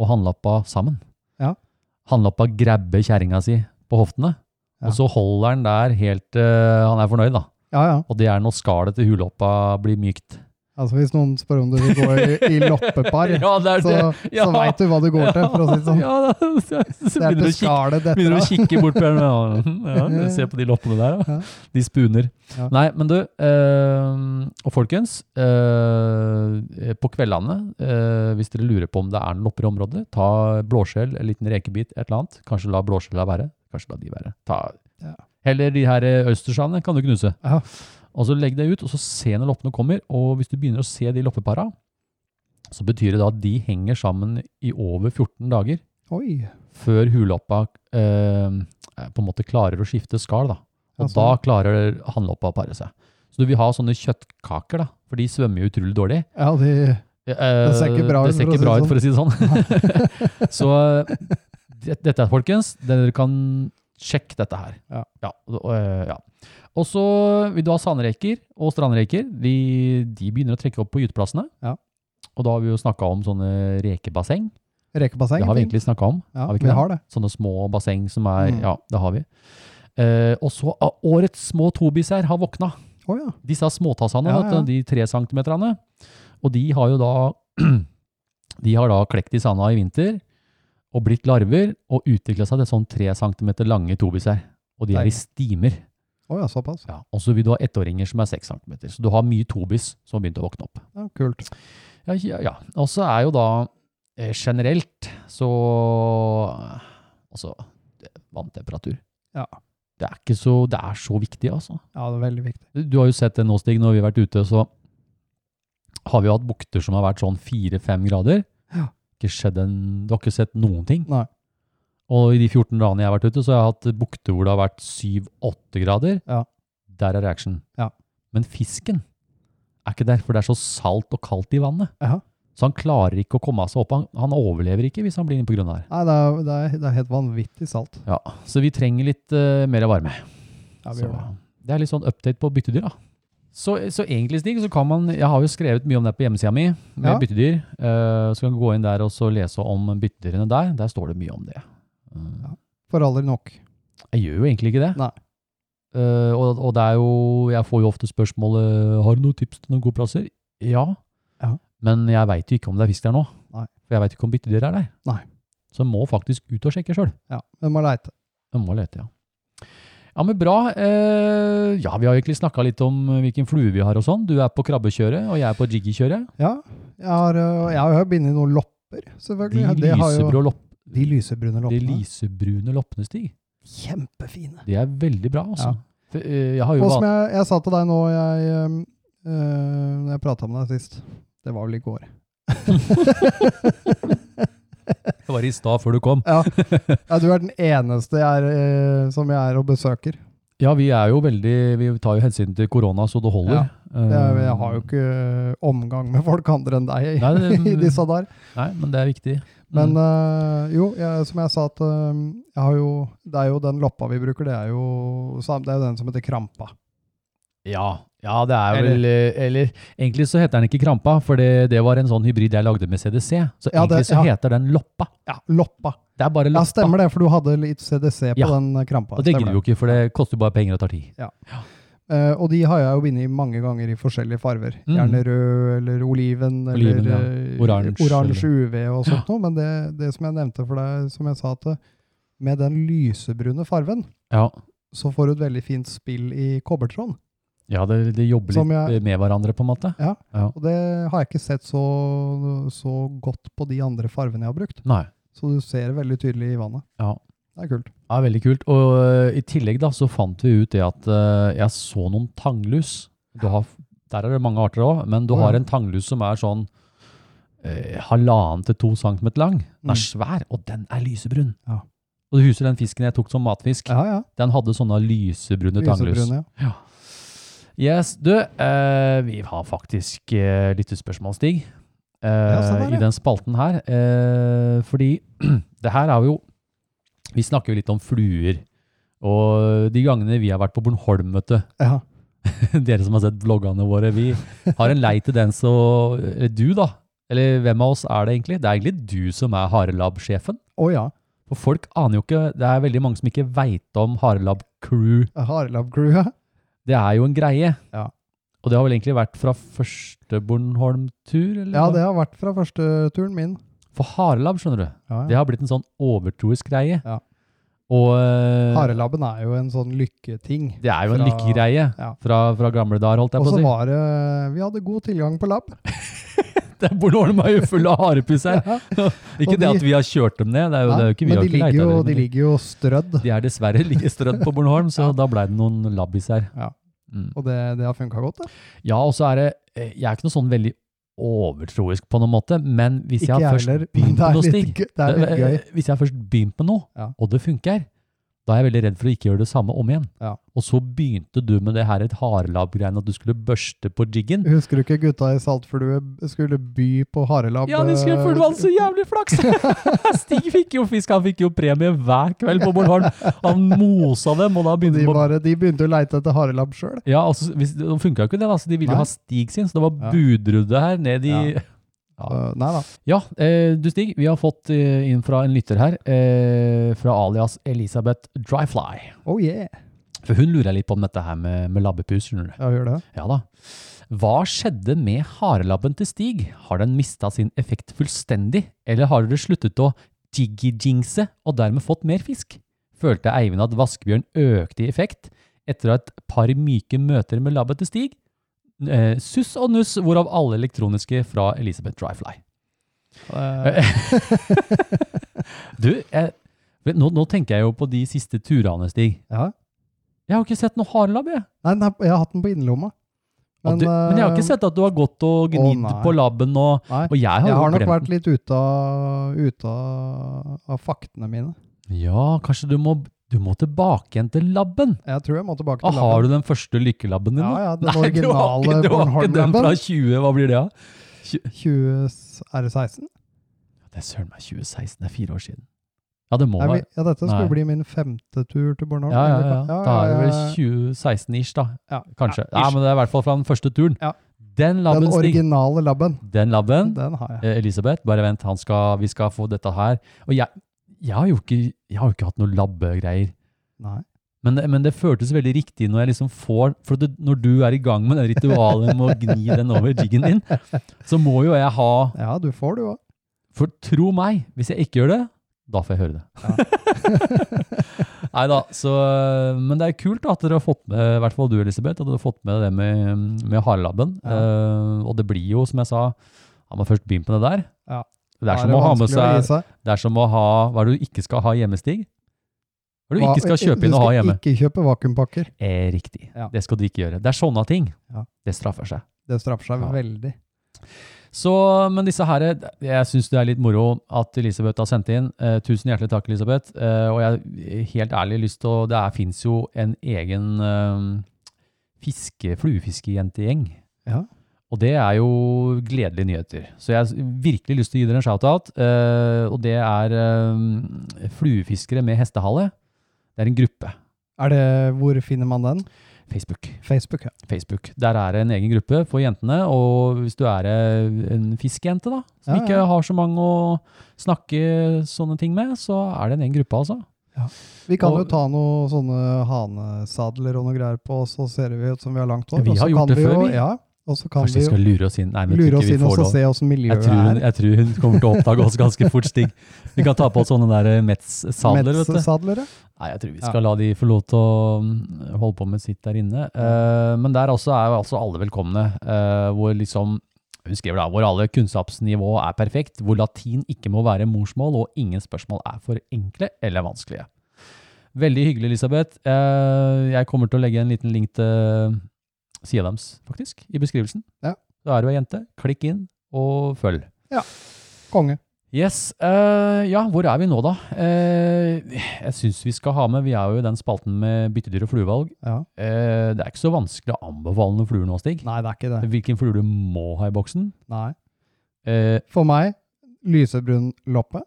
og handlappa sammen.
Ja.
Handlappa grabber kjerringa si på hoftene,
Ja.
og så holder han der helt til han er fornøyd da.
Ja, ja.
Og det er når skalet til huloppa blir mykt.
Altså Hvis noen spør om du vil gå i, i loppepar,
(laughs) Ja, det er
så,
det. Ja.
så veit du hva du går til, for å si det sånn.
Ja, (laughs) da, så, så,
Det
begynner
er
du å
til
kikke
skallet dette.
Begynner å
av.
kikke bort på henne. Ja, ja, se på de loppene der, ja.
Ja.
De spuner.
Ja.
Nei, men du, eh, og folkens, eh, på kveldene, eh, hvis dere lurer på om det er noen lopper i området, ta blåskjell, en liten rekebit, et eller annet. Kanskje la blåskjella være. Kanskje la de være. Ta,
Ja.
Heller de her eh, østersene kan du knuse.
Ja.
Og så legg det ut, og så se når loppene kommer. Og hvis du begynner å se de loppepara, så betyr det da at de henger sammen i over 14 dager
Oi.
før huloppa eh, på en måte klarer å skifte skall. Da. Og
Altså,
da klarer hannloppa å pare seg. Så du vil ha sånne kjøttkaker, da, for de svømmer jo utrolig dårlig.
Ja, de,
Eh,
Det ser ikke bra ut,
det ser
for å
ikke
si
bra ut,
det
for å si det sånn.
(laughs)
Så eh, det, dette er, folkens, dere kan sjekke dette her.
Ja.
og, og, eh, ja. Og så vil du ha sandreker og strandreker. De, de begynner å trekke opp på gyteplassene.
Ja.
Og da har vi jo snakka om sånne rekebasseng.
rekebasseng.
Det har vi
fint.
egentlig snakka om.
ja,
har vi ikke
vi
det?
har det.
Sånne små basseng som er
Mm.
Ja, det har vi. Eh, og så ah, årets små tobis her har våkna.
Å ja.
Disse småtassene,
Ja,
vet du,
ja.
de tre centimeterne. Og de har jo da (clears throat) De har da klekt i sanda i vinter og blitt larver og utvikla seg til sånn tre centimeter lange tobiser. Og de er i stimer.
Å ja, såpass.
Ja. Og så vil du ha ettåringer som er seks centimeter. Så du har mye tobis som har begynt å våkne opp.
Ja, kult.
Ja, ja, ja. Og så er jo da eh, generelt så eh, Altså, det- vanntemperatur.
Ja.
Det er ikke så, det er så viktig, altså.
Ja, det er veldig viktig.
Du du har jo sett det nå, Stig, når vi har vært ute, så har vi jo hatt bukter som har vært sånn fire-fem grader.
Ja.
Ikke skjedd en, du har ikke sett noen ting.
Nei.
Og i de 14 dagene jeg har vært ute, så har jeg hatt bukter hvor det har vært 7-8 grader.
Ja.
Der er reaction.
Ja.
Men fisken er ikke der, for det er så salt og kaldt i vannet.
Ja.
Så han klarer ikke å komme seg opp. Han, han overlever ikke hvis han blir inne på grunn her.
Nei, det er, det er, det er helt vanvittig salt.
Ja. Så vi trenger litt eh, mer varme.
Ja, vi
Så,
gjør det.
det er litt sånn update på byttedyr, da. Så, så egentlig, Stig, så kan man Jeg har jo skrevet mye om det på hjemmesida mi, med
Ja.
byttedyr. Eh, så kan du gå inn der og så lese om byttedyrene der. Der står det mye om det. Eh,
For aldri nok.
Jeg gjør jo egentlig ikke det.
Nei.
Eh, og, og det er jo Jeg får jo ofte spørsmålet Har du noen tips til noen gode plasser. Ja.
Ja.
Men jeg veit jo ikke om det er fisk der nå.
Nei.
For jeg veit ikke om byttedyr er der.
Nei.
Så jeg må faktisk ut og sjekke sjøl.
Ja, men må leite.
Jeg må lete, ja. Ja, men bra. Eh, ja, vi har egentlig snakka litt om hvilken flue vi har og sånn. Du er på krabbekjøret, og jeg er på jiggykjøret.
Ja, jeg har, øh, jeg har jo bindet noen lopper,
De
selvfølgelig. Det har jo,
lysebrå lopp,
de lysebrune
de
loppene.
lysebrune loppene, Stig.
Kjempefine.
Det er veldig bra, altså.
Ja.
For, eh, Jeg har jo
Og som
van-
jeg, jeg sa til deg nå jeg, øhm, øh, når jeg prata med deg sist Det var vel i går.
Det var i stad før du kom.
Ja. ja du er den eneste jeg er, øh, som jeg er og besøker.
Ja, vi er jo veldig Vi tar jo hensyn til korona, så det holder. Eh,
Det er, jeg har jo ikke øh, omgang med folk andre enn deg i,
Nei, det-
i disse dager.
Nei, men det er viktig.
Men
Mm.
øh, jo, jeg, som jeg sa at øh, jeg har jo, Det er jo den loppa vi bruker, det er jo, sam- det er jo den som heter krampa.
ja, ja, det er
Eller-
vel eh, Eller egentlig så heter den ikke Krampa, for det, det var en sånn hybrid jeg lagde med CDC. Så
Ja,
egentlig
det-
så
ja.
heter den Loppa.
Ja, loppa.
Det er bare
Ja,
Loppa.
stemmer det, for du hadde litt CDC på
Ja.
den krampa.
Og det
stemmer
gidder vi jo ikke, for det koster jo bare penger og tar tid.
Eh, og de har jeg jo bindet mange ganger i forskjellige farver.
Mm.
Gjerne rød eller oliven,
Oliven,
eller
ja.
eh,
Oransje,
oransje UV og sånt noe. Men det, det som jeg nevnte for deg, som jeg sa, at eh, med den lysebrune farven,
Ja,
så får du et veldig fint spill i kobbertråden.
ja det, det jobber
Som
litt
jeg-
eh, med hverandre, på en måte.
Og det har jeg ikke sett så, så godt på de andre farvene jeg har brukt.
Nei.
Så du ser det veldig tydelig i vannet.
Ja.
Det er kult.
Ja, veldig kult. Og eh, i tillegg da, så fant vi ut det at eh, jeg så noen tanglus. Du har, der er det mange arter òg, men du
Å, ja.
har en tanglus som er sånn eh, halvannen til to centimeter lang. Den er svær, og den er lysebrun.
Mm. Ja.
Og du husker den fisken jeg tok som matfisk?
Ja, ja.
Den hadde sånne lysebrune tanglus.
Lysebrune, ja.
Yes, du, eh, vi har faktisk eh, lyttespørsmål, Stig, eh,
sånn er
i
det.
den spalten her. Eh, fordi (clears throat) det her er jo Vi snakker jo litt om fluer. Og de gangene vi har vært på Bornholm, vet du, (laughs)
ja.
dere som har sett vloggene våre, vi har en lei tendens å Eller du, da. Eller hvem av oss er det egentlig? Det er egentlig du som er Harelab-sjefen.
Å ja.
For folk aner jo ikke Det er veldig mange som ikke veit om Harelab-crew
Harelab Crew, ja.
det er jo en greie.
Ja.
Og det har vel egentlig vært fra første Bornholm-tur? eller
Ja,
hva?
det har vært fra første turen min.
For Harelab, skjønner du.
Ja, ja.
Det har blitt en sånn overtroisk greie.
Ja.
Og eh,
Harelabben er jo en sånn lykketing.
det er jo en
fra-
lykkegreie
ja.
fra, fra gamle dager, holdt jeg
Og
på å
så
si.
var det Vi hadde god tilgang på lab.
(laughs) Det er- Bornholm er jo full av harepus her. ikke
og
det
de-
at vi har kjørt dem ned, det er jo, det er jo ikke vi
men
har
de
ikke leita
ligger, jo,
etter
de
dem, men
ligger jo strødd,
de er dessverre like strødd på Bornholm,
(laughs)
så da blei det noen labbis her.
Ja.
Mm.
og det, det har funka godt. Det.
Ja, og så er det eh, Jeg er ikke noe sånn veldig overtroisk på noen måte, men hvis
Ikke
jeg
jeg
først
heller, (laughs) men
begynt
det
på
er
noe,
litt,
Stig
gøy- det er litt gøy.
eh, Hvis jeg først begynte med noe,
Ja.
og det funker, da er jeg veldig redd for å ikke gjøre det samme om igjen.
Ja.
Og så begynte du med det her et harelab-greiene, at du skulle børste på jiggen.
Husker du ikke gutta i Saltflue skulle by på eh, harelabb?
Ja, de skulle for det var så jævlig flaks!
(laughs)
Stig fikk jo fisk, han fikk jo premie hver kveld på Bornholm. Han mosa dem, og da
eh, de,
begynte på
bare, de begynte å leite etter harelabb sjøl.
Ja, altså, hvis, det funka jo ikke det, da, så de ville
Nei.
jo ha Stig sin, så det var
Ja.
budrudde her ned i Ja.
Nei da.
Ja, eh, du Stig, vi har fått eh, inn fra en lytter her, eh, fra alias Elisabeth Dryfly.
Oh yeah.
For hun lurer litt på om dette her med, med labbepus, skjønner du.
Ja, gjør det.
Ja da. Hva skjedde med harelabben til Stig? Har den mista sin effekt fullstendig, eller har dere sluttet å jiggy-jingse og dermed fått mer fisk? Følte Eivind at vaskebjørn økte i effekt etter et par myke møter med labben til Stig? Eh, suss og nuss, hvorav alle elektroniske fra Elisabeth Dryfly.
Eh,
Du, jeg, vet, nå, nå tenker jeg jo på de siste turene, Stig.
Ja.
Jeg har jo ikke sett noe harelabb, jeg.
Nei, den er- jeg har hatt den på innerlomma.
Men, du, men jeg har
eh,
ikke sett at du har gått og
å,
gnidd
nei.
på labben. Og,
Nei,
og jeg har,
jeg
jo
har nok
glemt
vært litt ute av, ute av, av faktene mine.
den. Ja, kanskje du må, du må tilbake igjen til labben.
Jeg tror jeg må tilbake
Ah,
til labben.
har du den første lykkelabben din?
Ja,
da?
ja, den
(laughs) Nei, du har ikke, du har
originale
ikke den
Bornholm-labben.
fra 20, hva blir det av?
20, er det 16?
Det er søren meg 2016, det er fire år siden. Ja, det må
Er vi,
være.
ja, dette skulle
Nei.
bli min femte tur til Bornholm.
Ja, ja,
eller
ja.
hva?
Da er det vel
ja,
2016-ish, da.
ja.
Kanskje. Ja,
Ja, ish.
men det er i hvert fall fra den første turen.
Ja.
Den labben,
Den
Stig.
originale labben,
Den labben.
den har jeg.
Eh, Elisabeth, bare vent, han skal, vi skal få dette her. Og jeg, jeg, har, jo ikke, jeg har jo ikke hatt noen labbegreier.
Nei.
Men, men det føltes veldig riktig når jeg liksom får For det, når du er i gang med det ritualet med å gni den over jiggen din, så må jo jeg ha
Ja, du får du òg.
(laughs) For tro meg, hvis jeg ikke gjør det, da får jeg høre det. Nei da, så eh, Men det er kult da, at dere har fått med, i hvert fall du Elisabeth, at dere har fått med det med, med harelabben. Eh, og det blir jo, som jeg sa, har man først begynt med det der
Ja.
Det er
Da
som å ha med
vanskelig å gi
seg Det er som å ha Hva er det du ikke skal ha hjemme, Stig? Hva er det du
Hva-
ikke skal kjøpe inn
du
og ha
skal
hjemme?
Ikke kjøpe vakuumpakker.
Eh, riktig.
Ja.
Det skal du ikke gjøre. Det er sånne ting.
Ja.
Det straffer seg.
Det straffer seg
Ja.
veldig.
Så, men disse her, jeg synes det er litt moro at Elisabeth har sendt inn. Eh, tusen hjertelig takk, Elisabeth. Eh, og jeg har helt ærlig lyst til å, det er, finnes jo en egen eh, fiske, fluefiskejentegjeng.
Ja.
Og det er jo gledelige nyheter. Så jeg har virkelig lyst til å gi dere en shout-out. Eh, og det er eh, fluefiskere med hestehale. Det er en gruppe.
Er det, hvor finner man den?
Facebook.
Facebook, ja.
Facebook. Der er det en egen gruppe for jentene, og hvis du er eh, en fiskejente da, som
Ja, ja.
ikke har så mange å snakke sånne ting med, så er det en egen gruppe altså.
Vi kan
Og-
jo ta noen sånne hanesadler og noe greier på oss, så ser vi ut som vi har langt hår.
Vi
og så
har gjort
kan
det før,
jo-
vi.
Ja, og så kan
Kanskje vi
vi
skal lure oss inn. Nei,
jo
men jeg
lure
tror
oss
ikke vi
inn og
får
så
lov.
se åssen
Jeg
miljøet
tror, hun,
er.
jeg tror hun kommer til å oppdage oss ganske fort, Stig. Vi kan ta på oss sånne der eh, Metz-sadler, vet du.
Metsadler, ja.
Nei, jeg tror vi skal la de få lov til å mm, holde på med sitt der inne. Eh, men der også er jo altså alle velkomne, eh, hvor liksom hun skriver da, hvor alle kunnskapsnivå er perfekt, hvor latin ikke må være morsmål, og ingen spørsmål er for enkle eller vanskelige. Veldig hyggelig, Elisabeth. Eh, jeg kommer til å legge en liten link til sida deres, faktisk, i beskrivelsen.
Ja.
Da er du ei jente. Klikk inn, og følg.
Konge.
Yes. eh, ja, hvor er vi nå, da? Eh, jeg syns vi skal ha med Vi er jo i den spalten med byttedyr og fluevalg.
Ja.
Eh, det er ikke så vanskelig å anbefale noen fluer nå, Stig.
Nei, det er ikke det.
Hvilken flue du må ha i boksen.
Nei.
Eh,
For meg, lysebrun loppe.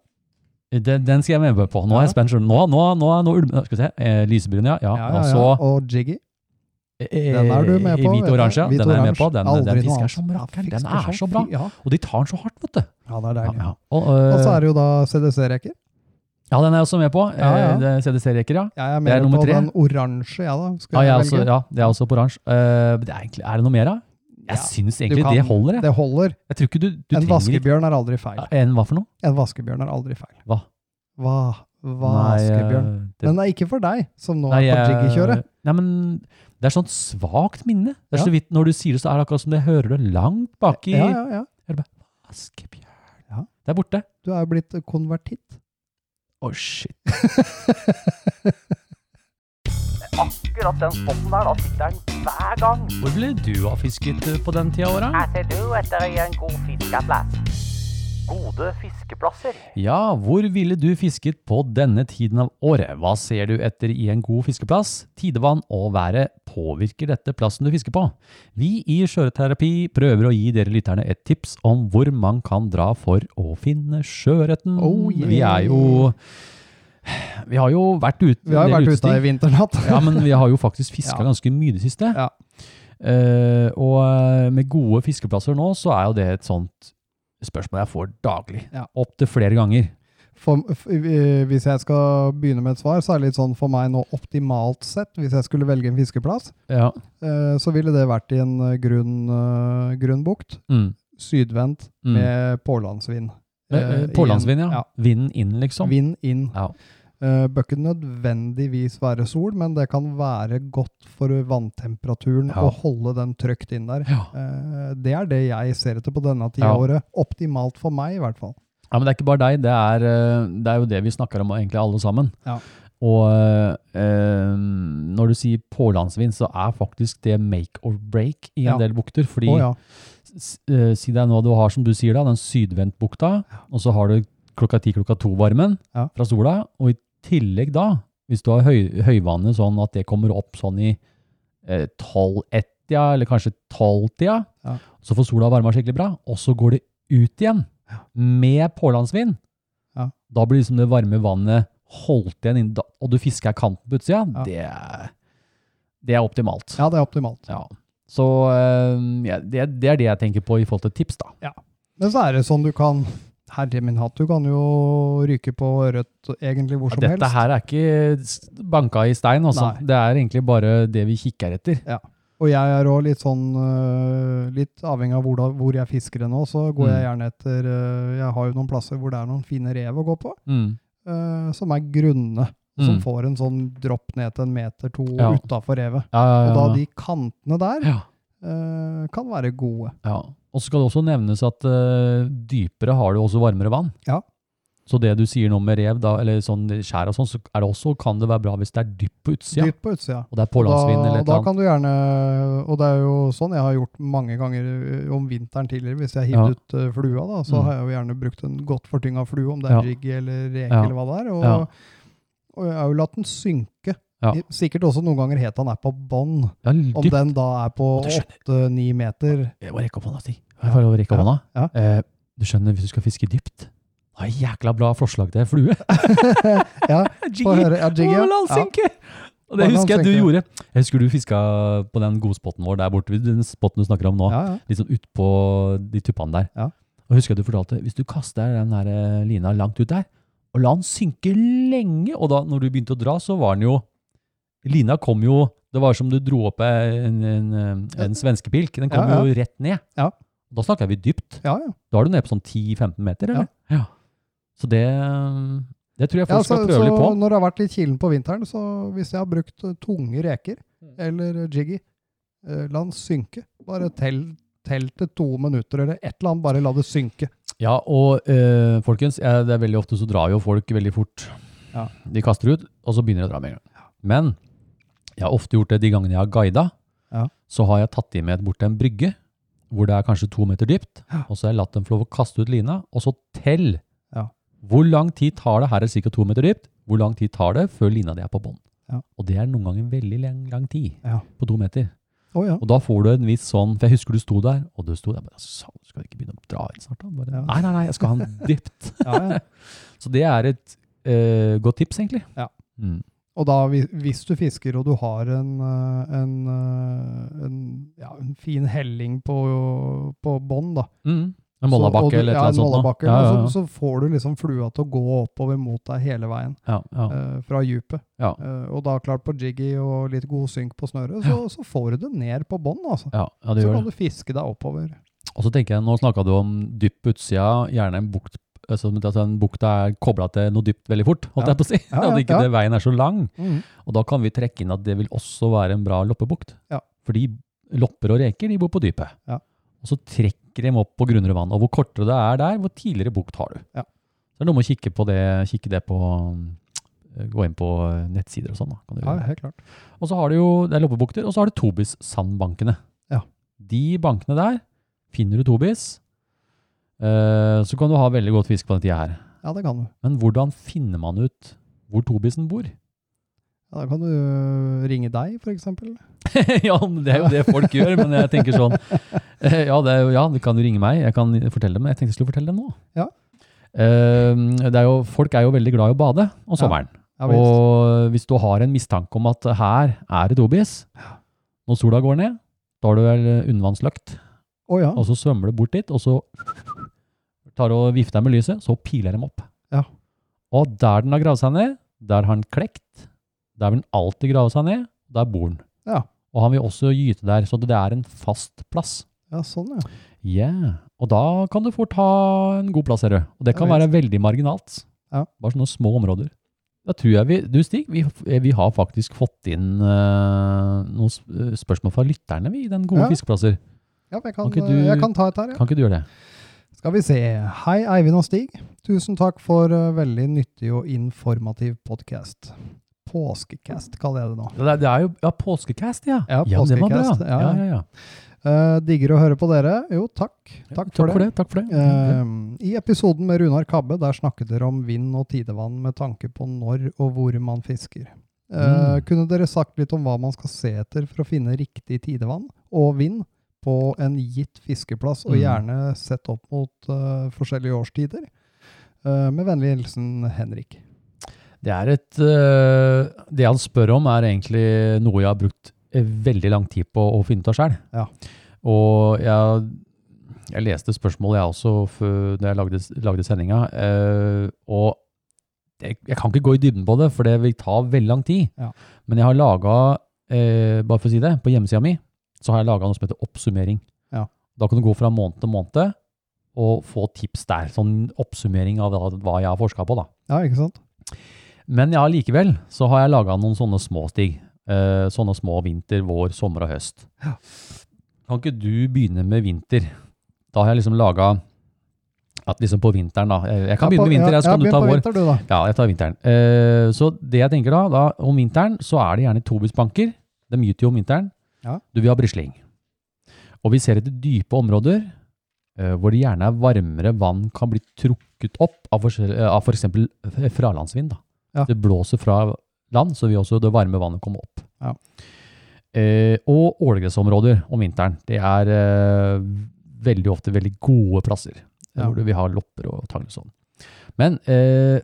den, den skal jeg være med på. Nå er jeg
Ja.
spent. skjønner du. Nå, nå, nå, nå, ulme- Skal vi se. Eh, lysebrun, ja. ja.
Ja,
og
ja,
så
ja. Og jiggy.
eh,
Den er du med
i
på.
Hvit og
vet jeg.
oransje. ja.
Hvit
Den
og
er jeg med
oransje.
på. Den,
Aldri
den
noe
fisker
annet.
som rakkeren. Den
Fisker
er så
som
bra.
fy- Ja,
Og de tar den så hardt, vet du.
ja det er
Ja,
deilig.
ja. Og, eh,
Og så er det jo da CDC-reker.
ja, den er jeg også med på.
Ja, ja.
Eh, det er CDC-reker, ja.
Jeg
Det
er
er
mer
nummer
på
tre.
den oransje, jeg da. Skal
Ja, jeg
jeg
er
velge?
også, ja, det er også på oransje. Eh, men det er, egentlig, er det noe mer, da? Jeg
Ja,
syns
Du
egentlig
kan-
det holder. Jeg.
Det holder.
jeg tror ikke du, du
En
trenger ikke
vaskebjørn er aldri feil.
Ja, En hva for noe?
En vaskebjørn er aldri feil.
Hva?
Hva? Vaskebjørn.
Nei, eh, det-
Men det er ikke for deg, som nå
nei,
er på
jeg-
jiggykjøret.
Nei, men det er sånn svakt minne. Det er
Ja.
så vidt Når du sier det, så er det akkurat som det hører det langt baki.
Ja, ja, ja.
Vaskebjørn.
Ja.
Det er borte.
Du er jo blitt konvertitt.
Å, shit.
Akkurat den spotten der, da sitter den hver gang.
Hvor ble du av fisket eh, på den tida av året?
Her ser du etter en god fiskeplass. Gode fiskeplasser.
Ja, hvor ville du fisket på denne tiden av året? Hva ser du etter i en god fiskeplass? Tidevann og været påvirker dette plassen du fisker på. Vi i Sjøørretterapi prøver å gi dere lytterne et tips om hvor man kan dra for å finne sjøørreten.
Oh, yeah.
Vi er jo Vi har jo vært ute
Vi har jo
en del
vært ute
utesting.
i vinternatt.
(laughs) Ja, men vi har jo faktisk fiska
Ja.
ganske mye i det siste.
Ja.
Eh, og eh, med gode fiskeplasser nå, så er jo det et sånt spørsmål jeg får daglig.
Ja.
Opptil flere ganger.
(laughs) For, f- eh, hvis jeg skal begynne med et svar, så er det litt sånn for meg nå optimalt sett, hvis jeg skulle velge en fiskeplass,
Ja.
eh, så ville det vært i en eh, grunn, eh, grunn bukt,
Mm.
sydvendt,
Mm.
med pålandsvind.
Eh,
Eh,
eh, Pålandsvind,
igjen.
ja. Vinden inn, liksom.
Vind inn.
Ja.
Eh, Bør ikke nødvendigvis være sol, men det kan være godt for vanntemperaturen
Ja.
å holde den trygt inn der.
Ja.
Eh, Det er det jeg ser etter på denne tida
Ja.
av året. Optimalt for meg, i hvert fall.
ja, men det er ikke bare deg. Det er, eh, det er jo det vi snakker om egentlig alle sammen.
Ja.
Og eh, eh, når du sier pålandsvind, så er faktisk det make or break i en
Ja.
del bukter. Fordi
Å ja.
s- eh, si deg nå du har, som du sier da, den sydvendtbukta, og så har du klokka ti, klokka to-varmen
Ja.
fra sola, og i tillegg da, hvis du har høy, høyvannet sånn at det kommer opp sånn i eh, 12-1-tida, eller kanskje 12-tida,
Ja.
så får sola varma skikkelig bra, og så går det ut igjen med pålandsvind.
Ja.
Da blir liksom det varme vannet holdt igjen, inn, da- og du fisker kanten på utsida.
Ja.
Det, er- det er optimalt.
ja, det er optimalt.
Ja. Så eh, ja, det, det er det jeg tenker på i forhold til tips, da.
Men så er det sånn du kan Herre min hatt, du kan jo ryke på ørret egentlig hvor som
Dette
helst.
her er ikke s- banka i stein, altså.
Nei.
Det er egentlig bare det vi kikker etter.
Og jeg er òg litt sånn øh, Litt avhengig av hvor, da, hvor jeg fisker det nå,
Mm.
så går jeg gjerne eh, etter øh, Jeg har jo noen plasser hvor det er noen fine rev å gå på,
Mm.
øh, som er grunne. som
Mm.
får en sånn dropp ned til en meter to
Ja.
utafor revet.
Ja, ja,
Og da
ja.
de kantene der
ja.
eh, kan være gode.
Ja. Og så skal det også nevnes at eh, dypere har du også varmere vann.
Ja.
Så det du sier nå med rev, da, eller sånn skjær og sånn, så er det også, kan det være bra hvis det er dypt på utsida,
Dypt på utsida.
og det er
Da,
pålandsvind eller et eller
da
annet.
kan du gjerne, og det er jo sånn jeg har gjort mange ganger ø, om vinteren tidligere, hvis jeg har
Ja.
hivd ut ø, flua, da, så
Mm.
har jeg jo gjerne brukt en godt fortynga flue, om det er
Ja.
rigg eller reke
Ja.
eller hva det er, og,
Ja.
og jeg har jo latt den synke.
Ja.
I- Sikkert også noen ganger het han er på bånn,
Ja,
om
dypt.
den da er på
Du skjønner.
åtte-ni meter.
Jeg må rekke opp hånda, Stig. Jeg får lov å rekke opp hånda.
Ja.
Eh, du skjønner, hvis du skal fiske dypt, da har jeg jækla bra forslag til flue.
(laughs)
(laughs)
Ja,
Jiggy.
Få høre. Ja, jiggy,
Å,
ja.
la han
Ja.
synke! Og det
Bare la
husker jeg
han
du
synke.
gjorde. Jeg husker du fiska på den godspotten vår der borte, den spotten du snakker om nå.
Ja, ja.
litt sånn utpå de tuppene der.
Ja.
Og husker jeg du fortalte, hvis du kaster den her eh, lina langt ut der, og la den synke lenge, og da når du begynte å dra, så var den jo, lina kom jo, det var som du dro opp en, en, eh, en svenskepilk, den kom
Ja, ja.
jo rett ned.
Ja.
Da snakker vi dypt.
ja, ja.
Da er du nede på sånn 10-15 meter, eller? Ja. Så det, eh, det tror jeg
Ja,
folk
så,
skal
så
prøve litt på.
når det har vært litt kilen på vinteren, så hvis jeg har brukt eh, tunge reker eller eh, jiggy, eh, la den synke. Bare tell, tell til to minutter eller et eller annet, bare la det synke.
Ja, og eh, folkens, eh, det er veldig ofte så drar jo folk veldig fort.
Ja.
De kaster ut, og så begynner de å dra med en gang. Men jeg har ofte gjort det de gangene jeg har guida,
Ja.
så har jeg tatt de med bort til en brygge, hvor det er kanskje to meter dypt,
Ja.
og så har jeg latt dem få lov å kaste ut lina, og så tell.
Ja.
Hvor lang tid tar det, her er det ca. to meter dypt, hvor lang tid tar det før lina di er på bånn?
Ja.
Og det er noen ganger veldig lang, lang tid,
Ja.
på to meter.
Å ja.
Og da får du en viss sånn, for jeg husker du sto der, og du sto der, bare, «Sa- skal du ikke begynne å dra inn snart da? Bare,
Ja.
Nei, nei, nei, jeg skal ha den dypt.
(laughs) ja, ja.
Så det er et eh, godt tips egentlig.
Ja.
Mm.
Og da, hvi- hvis du fisker og du har en, eh, en, eh, en, ja, en fin helling på, på bånn, da.
Mm. En
så- og du-
mollabakke eller et
ja,
eller annet
en
sånt. da.
mollabakke,
Ja, ja,
og
ja.
Så, så får du liksom flua til å gå oppover mot deg hele veien.
Ja, ja.
eh, fra djupet.
Ja.
Eh, og da klart på jiggy og litt god synk på snøret, så, så får du det ned på bånn. Altså.
Ja, ja, det
Så
gjør
kan
det.
du fiske deg oppover.
Og så tenker jeg, nå snakket du om dypt på utsida, gjerne en bukt, altså, altså en bukt er koblet til noe dypt veldig fort, holdt
Ja.
jeg på å si.
Ja,
(laughs)
ja,
At ikke
ja.
det veien er så lang.
Mm.
Og da kan vi trekke inn at det vil også være en bra loppebukt.
Ja.
Fordi lopper og reker de bor på dypet.
Ja.
Og så trekker de opp på grunnere vann. Og hvor kortere det er der, hvor tidligere bukt har du.
Ja.
Så det er noe med å kikke på det, kikke det på eh, Gå inn på eh, nettsider og sånn. da. Kan du
Ja,
gjøre.
helt klart.
Og så har du jo det er loppebukter, og så har du Tobis-sandbankene.
Ja.
De bankene der finner du Tobis. eh, Så kan du ha veldig godt fisk på den tida her.
Ja, det kan du.
Men hvordan finner man ut hvor Tobisen bor?
Ja, da kan du øh, ringe deg, for eksempel.
(laughs) ja, men det er jo det folk gjør, men jeg tenker sånn eh, Ja, det er jo, ja du kan jo ringe meg, jeg kan fortelle dem, jeg tenkte jeg skulle fortelle dem nå.
Ja.
Eh, det er jo, folk er jo veldig glad i å bade om
Ja,
sommeren.
Ja, visst.
og hvis du har en mistanke om at her er det dobis, når sola går ned, da har du vel undervannsløkt,
Å ja.
og så svømmer du bort dit, og så tar du og vifter med lyset, så piler de opp.
Ja.
Og der den har gravd seg ned, der har den klekt, der vil den alltid grave seg ned, der bor den.
Ja.
Og han vil også gyte der, så det er en fast plass.
ja, sånn ja.
Yeah. Og da kan du fort ha en god plass, ser du. Og det
Ja,
kan være veldig marginalt.
Ja.
Bare sånne små områder. Da tror jeg vi, du Stig, vi, vi har faktisk fått inn eh, noen s- eh, spørsmål fra lytterne vi, i den gode
Ja.
fiskeplasser.
ja jeg, kan,
Kan ikke du-
øh, jeg kan ta et her, ja.
Kan ikke du gjøre det?
Skal vi se. Hei, Eivind og Stig. Tusen takk for øh, veldig nyttig og informativ podkast. Påskecast kaller jeg det nå.
Ja, Det er, det er jo ja, påskecast, ja.
Ja,
men det var
påskecast,
bra.
ja.
Ja, ja, ja.
Eh, digger å høre på dere. Jo, takk. Takk for det.
Takk for det.
Eh, I episoden med Runar Kabbe der snakket dere om vind og tidevann med tanke på når og hvor man fisker. Eh,
Mm.
Kunne dere sagt litt om hva man skal se etter for å finne riktig tidevann og vind på en gitt fiskeplass, og
Mm.
gjerne sett opp mot eh, forskjellige årstider? Eh, med vennlig hilsen Henrik.
Det er et øh, Det han spør om, er egentlig noe jeg har brukt eh, veldig lang tid på å finne ut av sjøl.
Ja.
Og jeg, jeg leste spørsmålet, jeg også, før- da jeg lagde, lagde sendinga. eh, og det, jeg kan ikke gå i dybden på det, for det vil ta veldig lang tid.
Ja.
Men jeg har laga, bare for å si det, på hjemmesida mi så har jeg laga noe som heter oppsummering.
Ja.
Da kan du gå fra måned til måned og få tips der. Sånn oppsummering av hva hva jeg har forska på, da.
Ja, ikke sant?
Men ja, likevel så har jeg laga noen sånne små stig. Eh, sånne små vinter, vår, sommer og høst. Kan ikke du begynne med vinter? Da har jeg liksom laga at liksom på vinteren, da. eh, Jeg kan begynne med vinter, jeg, så kan du ta vår.
Begynn på vinter, du, da.
Ja, jeg tar vinteren. Eh, så det jeg tenker da, da, om vinteren, så er det gjerne tobisbanker. De gyter jo om vinteren.
Ja.
Du vil ha brisling. Og vi ser etter dype områder eh, hvor det gjerne er varmere vann kan bli trukket opp av forskjell- eh, av f.eks. For fralandsvind. Da.
Ja.
Det blåser fra land, så vil også det varme vannet komme opp.
Ja.
Eh, og ålegressområder om vinteren. Det er eh, veldig ofte veldig gode plasser.
Ja.
Hvor du vil ha lopper og tang og sånn. Men eh,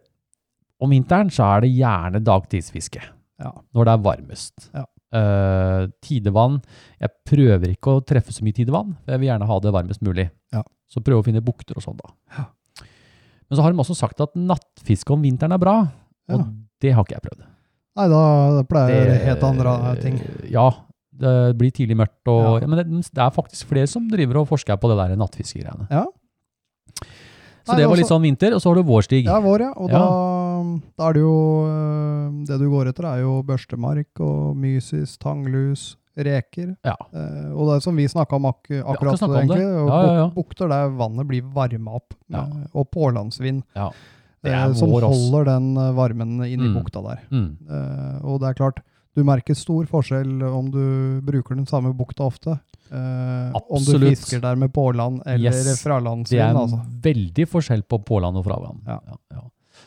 om vinteren så er det gjerne dagtidsfiske.
Ja.
Når det er varmest.
Ja.
Eh, tidevann Jeg prøver ikke å treffe så mye tidevann. for Jeg vil gjerne ha det varmest mulig.
Ja.
Så prøve å finne bukter og sånn, da. Men så har de også sagt at nattfiske om vinteren er bra. Og
Ja.
det har ikke jeg prøvd.
Nei, da det pleier det helt andre ting.
Ja. Det blir tidlig mørkt. Og,
Ja.
ja. men det, det er faktisk flere som driver og forsker på det der nattfiskegreiene.
Ja.
Så
Nei,
det var
altså-
litt sånn vinter, og så har du vårstig.
Ja, vår, ja. Og
Ja.
Da, da er det jo eh, Det du går etter, er jo børstemark og mysis, tanglus, reker.
Ja.
Eh, og det er som vi snakka om ak akkurat
snakket om det.
egentlig. Og
Ja, ja, ja.
buk- Bukter der vannet blir varma opp,
Ja.
med, og pålandsvind.
Ja. Det er
eh, som
vår også.
holder den eh, varmen inn i
Mm.
bukta der.
Mm.
Eh, og det er klart, du merker stor forskjell om du bruker den samme bukta ofte. eh, om du
Absolutt.
fisker der med påland eller
Yes. Det
fralandsvind.
er
altså.
veldig forskjell på påland og fravann.
Ja.
Ja, ja.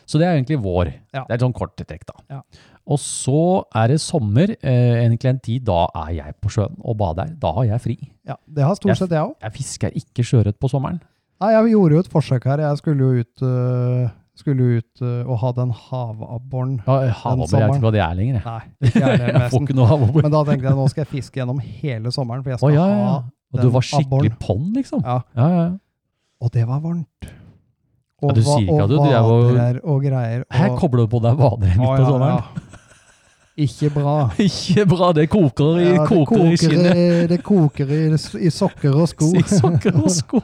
Så det er egentlig vår.
Ja.
Det er et sånn kort trekk, da.
Ja.
Og så er det sommer, eh, egentlig en tid da er jeg på sjøen og bader. Da har jeg fri.
Ja, det har
Jeg-
stort sett jeg òg.
Jeg fisker ikke sjøørret på sommeren.
Nei, jeg gjorde jo et forsøk her. Jeg skulle jo ut, øh, skulle jo ut øh, og ha den havabboren.
Ja, Havabber, jeg vet
sommeren.
ikke hva det er lenger. jeg.
Nei, ikke jeg
(laughs)
heller,
Jeg får
nesten.
ikke noe havabber.
Men da tenkte jeg nå skal jeg fiske gjennom hele sommeren, for jeg
Å
skal
ja, ja, ja. Og du
den
var skikkelig
abboren.
pond, liksom.
ha Ja,
Ja, ja, ja.
og det var varmt.
Ja, du
hva-
sier ikke
og
at du- du er jo-
vadrer og greier. Og,
Her kobler du på deg vadere midt på
Å, ja,
sommeren.
ja. Ikke bra.
(laughs) Ikke bra, (laughs) det koker i,
Ja, det
koker i
koker,
skinnet.
i, det koker i, i sokker og (laughs) sko.
(laughs) I sokker og
(laughs)
sko.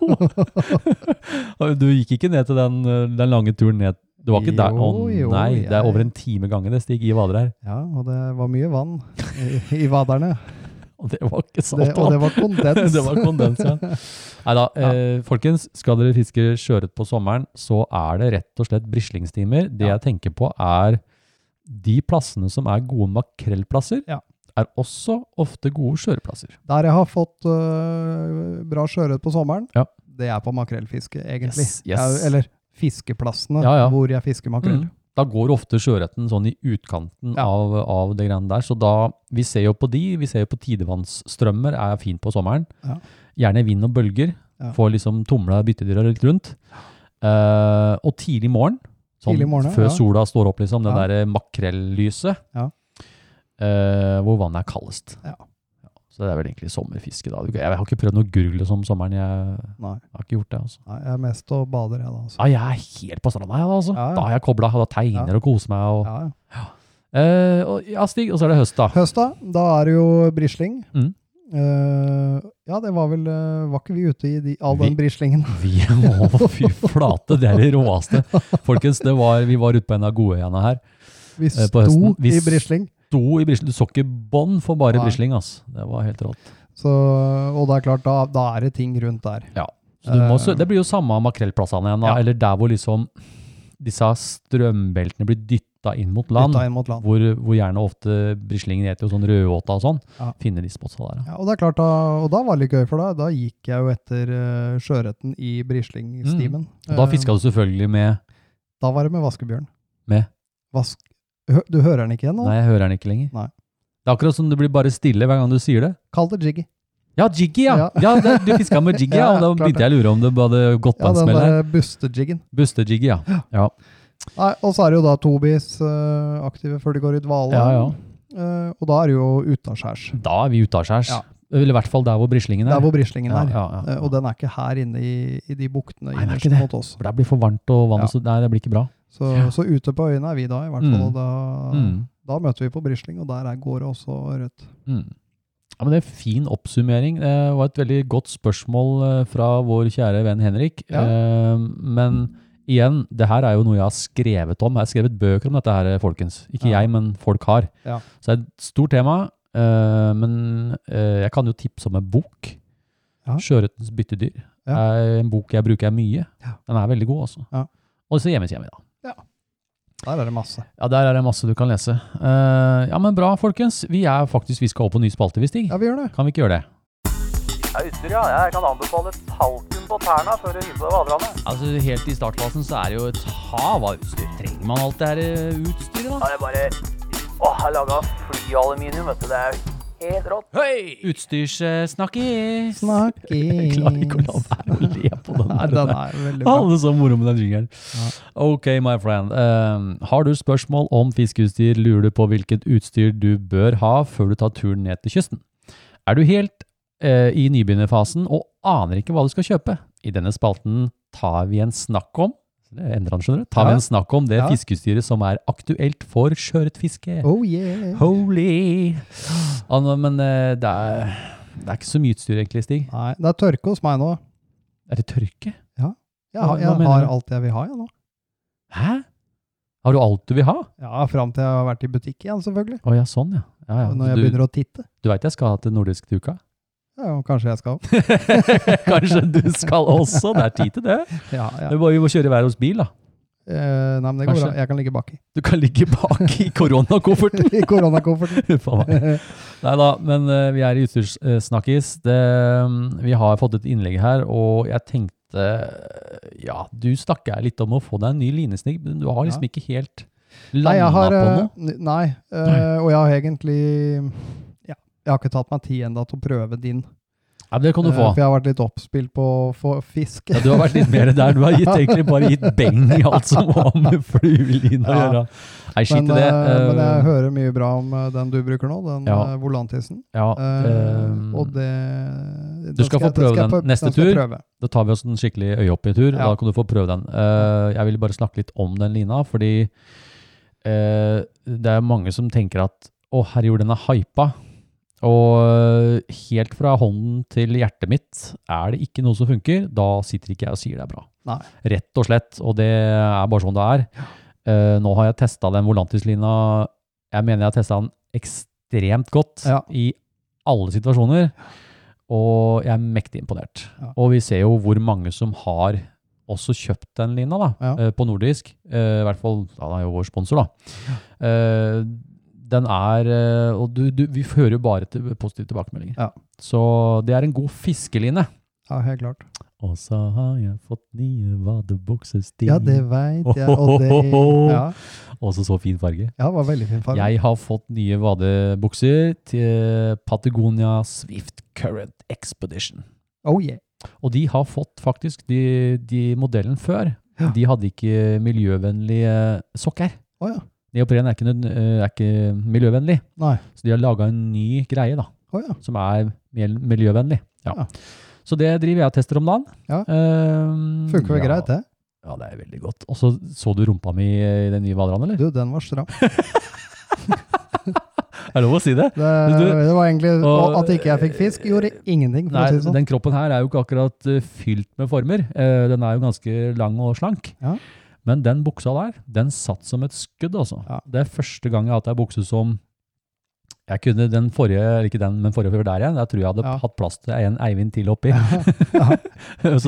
Og du gikk ikke ned til den, eh, den lange turen ned. Du var ikke der. Å
Jo, jo,
nei, det
jeg-
er over en time gange det Stig i vader her.
Ja, og det var mye vann i, i vaderne.
Og det var ikke
Det, og
saltvann.
det var kondens.
(laughs) det var kondens, ja. Nei da, eh, folkens. Skal dere fiske sjøørret på sommeren, så er det rett og slett brislingstimer. Det jeg tenker på, er de plassene som er gode makrellplasser,
Ja.
er også ofte gode sjøørretplasser.
Der jeg har fått øh, bra sjøørret på sommeren,
Ja.
det er på makrellfiske,
Yes,
egentlig.
yes.
Jeg- eller fiskeplassene
Ja, ja.
hvor jeg fisker makrell.
Mm. Da går ofte sjøørreten sånn i utkanten
Ja.
av, av det greiene der. Så da, vi ser jo på de, vi ser jo på tidevannsstrømmer, er fint på sommeren.
Ja.
Gjerne vind og bølger,
Ja.
får liksom tomla byttedyra litt rundt. Eh, og tidlig morgen, sånn
Tidlig morgen,
før
ja.
sola står opp, liksom, det
Ja.
der makrellyset,
Ja.
eh, hvor vannet er kaldest.
Ja.
Ja, Så det er vel egentlig sommerfiske da. Du- Jeg har ikke prøvd noe gurgle som sommeren, jeg
Nei.
har ikke gjort det. Altså.
Nei, jeg er mest og bader, jeg da. Altså.
Ja, jeg er helt på stranda, jeg, da, altså.
Ja, ja.
Da har jeg kobla, da tegner og koser meg. Og,
Ja, ja.
Eh, og, ja, Stig, og så er det høst, da.
Høsta, da er det jo brisling.
Mm.
Eh, ja, det var vel eh, Var ikke vi ute i de, all den
Vi-
brislingen? (laughs)
Vi, å, (laughs) fy flate, det er det råeste. Folkens, det var, vi var ute på en av godøyene her.
Vi
Eh,
sto
på høsten. Vi
i
s-
brisling.
Sto i brisling, du så ikke bånd for bare
Nei.
brisling, ass. Det var helt rått.
Så, og det er klart, da, da er det ting rundt der.
Så du må, sø-
Eh.
det blir jo samme makrellplassene igjen, da.
Ja.
Eller der hvor liksom disse strømbeltene blir dytta inn mot land.
Dytta inn mot land.
Hvor, hvor gjerne ofte brislingen heter jo sånn rødåta og sånn.
Ja.
Finner de spotsa der, ja.
Ja, og det er klart da, og da var det litt gøy, for da, da gikk jeg jo etter uh, sjøørreten i brislingstimen.
Mm. Og da
Eh,
fiska du selvfølgelig med
Da var det med vaskebjørn.
Med?
Vask... Hø- Du hører den ikke igjen nå?
Nei, jeg hører den ikke lenger.
Nei.
Det er akkurat som du blir bare stille hver gang du sier det.
Kall det jiggy.
Ja, Jiggy, ja.
Ja.
ja. det, du fiska med Jiggy, ja.
(laughs)
og
Ja,
Da
klart det.
begynte jeg å lure om det hadde gått på
Ja,
en
den
smell her.
der bustejiggen.
Buste-Jiggy, ja. ja.
Nei, og så er det jo da Tobis eh, aktive før de går i dvale.
Ja, ja.
Eh, og da er det jo utaskjærs.
Da er vi utaskjærs.
Ja.
Eller i hvert fall der hvor brislingen er.
Der hvor brislingen
ja,
er.
ja, ja.
Eh, og den er ikke her inne i, i de buktene
Nei, den er
innerst
ikke det.
mot oss.
For der blir for varmt og vannet
Ja.
så Nei, det blir ikke bra.
Så, så ute på øyene er vi da, i hvert fall.
Mm.
Og da,
Mm.
da møter vi på brisling, og der er, går det også rødt.
Mm. Ja, men Det er fin oppsummering. Det var et veldig godt spørsmål eh, fra vår kjære venn Henrik.
Ja.
Eh, Men Igjen, det her er jo noe jeg har skrevet om. Jeg har skrevet bøker om dette her, eh, folkens. Ikke
Ja.
jeg, men folk har.
Ja.
Så det er et stort tema, eh, men eh, jeg kan jo tipse om en bok.
Ja.
'Sjøørretens byttedyr'.
Ja.
er en bok jeg bruker mye.
Ja.
Den er veldig god, altså.
Ja.
Og så hjemmes hjemme, da.
Der er det masse.
Ja, der er det masse du kan lese. Eh, ja, men bra, folkens. Vi er faktisk, vi skal opp på ny spalte, vi, Stig.
Ja, vi gjør det.
Kan vi ikke gjøre det?
Ja, utstyr, ja. Jeg kan anbefale talkum på tærne før du hiver på deg vaderne.
Altså, Helt i startfasen så er det jo et hav av utstyr. Trenger man alt det her eh, utstyret, da?
Ja, det er bare Åh, jeg laga flyaluminium, vet du. Det er helt rått.
Utstyrssnakkis!
(laughs) Jeg
Snakkes.
klarer ikke å la være å le på den
Nei,
der.
den er veldig bra.
Alle så moro med den jingeren. Ok, my friend. Eh, har du spørsmål om fiskeutstyr, lurer du på hvilket utstyr du bør ha før du tar turen ned til kysten? Er du helt eh, i nybegynnerfasen og aner ikke hva du skal kjøpe? I denne spalten tar vi en snakk om det endrer han, skjønner du. Tar
Ja.
vi en snakk om det
Ja.
fiskeutstyret som er aktuelt for sjøørretfiske.
Oh yeah.
Holy! Ah, nå, men eh, det, er, det er ikke så mye utstyr egentlig, Stig.
Nei, det er tørke hos meg nå.
Er det tørke?
Jeg,
Hva-
har-
hva
jeg
mener
har
du?
alt jeg vil ha, jeg nå.
Hæ? Har du alt du vil ha?
Ja, Fram til jeg har vært i butikk igjen, selvfølgelig.
Å ja, sånn ja. ja, ja.
Når jeg
du
begynner å titte.
du veit jeg skal til nordisk til uka?
Ja, jo, kanskje jeg skal.
(laughs) Kanskje du skal også? Det er tid til det.
Ja, ja.
Vi må, vi må kjøre hver vår bil, da.
Eh, nei, men det går
Kanskje.
bra. Jeg kan ligge baki.
Du kan ligge bak i koronakofferten.
(laughs) I
(laughs)
koronakofferten.
Huff a meg. Nei da, men eh, vi er i utstyrssnakkis. Det, mm, Vi har fått et innlegg her, og jeg tenkte Ja, du snakker litt om å få deg en ny linesnigg, men du har liksom
Ja.
ikke helt
Nei, jeg
landa
har
på
eh,
noe.
n- Nei. eh, Og jeg har egentlig ja, Jeg har ikke tatt meg tid ennå til å prøve din.
Nei, men det kan du
Eh,
få.
For jeg har vært litt oppspilt på å få fisk.
Ja, du har vært litt mer der. Du har gitt, egentlig bare gitt beng i alt som har med fluelin å
Ja.
gjøre. Nei, skit i
men,
det.
eh, men
Eh,
jeg hører mye bra om eh, den du bruker nå, den
Ja.
eh, volantisen.
ja,
Eh,
eh,
og det den
du skal få
jeg-
prøve
skal
den
jeg prø-
neste
skal
tur.
jeg prøve.
Da tar vi oss en skikkelig øyeopptur,
Ja.
da kan du få prøve den. Eh, jeg ville bare snakke litt om den lina, fordi eh, det er mange som tenker at å herregud, den er hypa. Og eh, helt fra hånden til hjertet mitt er det ikke noe som funker, da sitter ikke jeg og sier det er bra.
Nei.
Rett og slett, og det er bare sånn det er. Eh, nå har jeg testa den Volantis-lina, jeg mener jeg har testa den ekstremt godt
Ja.
i alle situasjoner. Og jeg er mektig imponert.
Ja.
Og vi ser jo hvor mange som har også kjøpt den lina da,
Ja.
eh, på nordisk. Eh, I hvert fall, ja, den er jo vår sponsor da. Eh, den er, eh, og du, du, vi hører jo bare til positive tilbakemeldinger.
Ja.
Så det er en god fiskeline.
Ja, helt klart.
Og så har jeg fått nye vadebukser, Stig.
Ja,
(laughs)
det veit jeg. Og det ja,
Også så fin farge.
ja, det var veldig fin farge.
Jeg har fått nye vadebukser til Patagonia Swift Current Expedition.
Oh yeah.
Og de har fått faktisk de, de modellen før.
Ja.
De hadde ikke miljøvennlige sokker.
Å ja.
Neopren er ikke, nød- eh, er ikke miljøvennlig,
Nei.
så de har laga en ny greie da,
Å ja.
som er mer miljøvennlig. Ja.
Ja.
Så det driver jeg og tester om dagen.
Ja.
Ehm,
Funker vel
ja.
greit, det?
Ja, det er veldig godt. Og så så du rumpa mi eh, i den nye Valran, eller?
Du, den var stram.
Er det lov å si det?
Det,
Men (laughs) du-
det var egentlig
og-
og, At ikke jeg fikk fisk, gjorde ingenting, for
Nei,
å si det sånn.
den kroppen her er jo ikke akkurat eh, fylt med former. Eh, den er jo ganske lang og slank.
Ja.
Men den buksa der, den satt som et skudd, altså.
Ja.
Det er første gang jeg har hatt ei bukse som jeg kunne den forrige, eller ikke den, men forrige før der igjen. Jeg tror jeg hadde
Ja.
hatt plass til en Eivind til
(laughs)
oppi. Så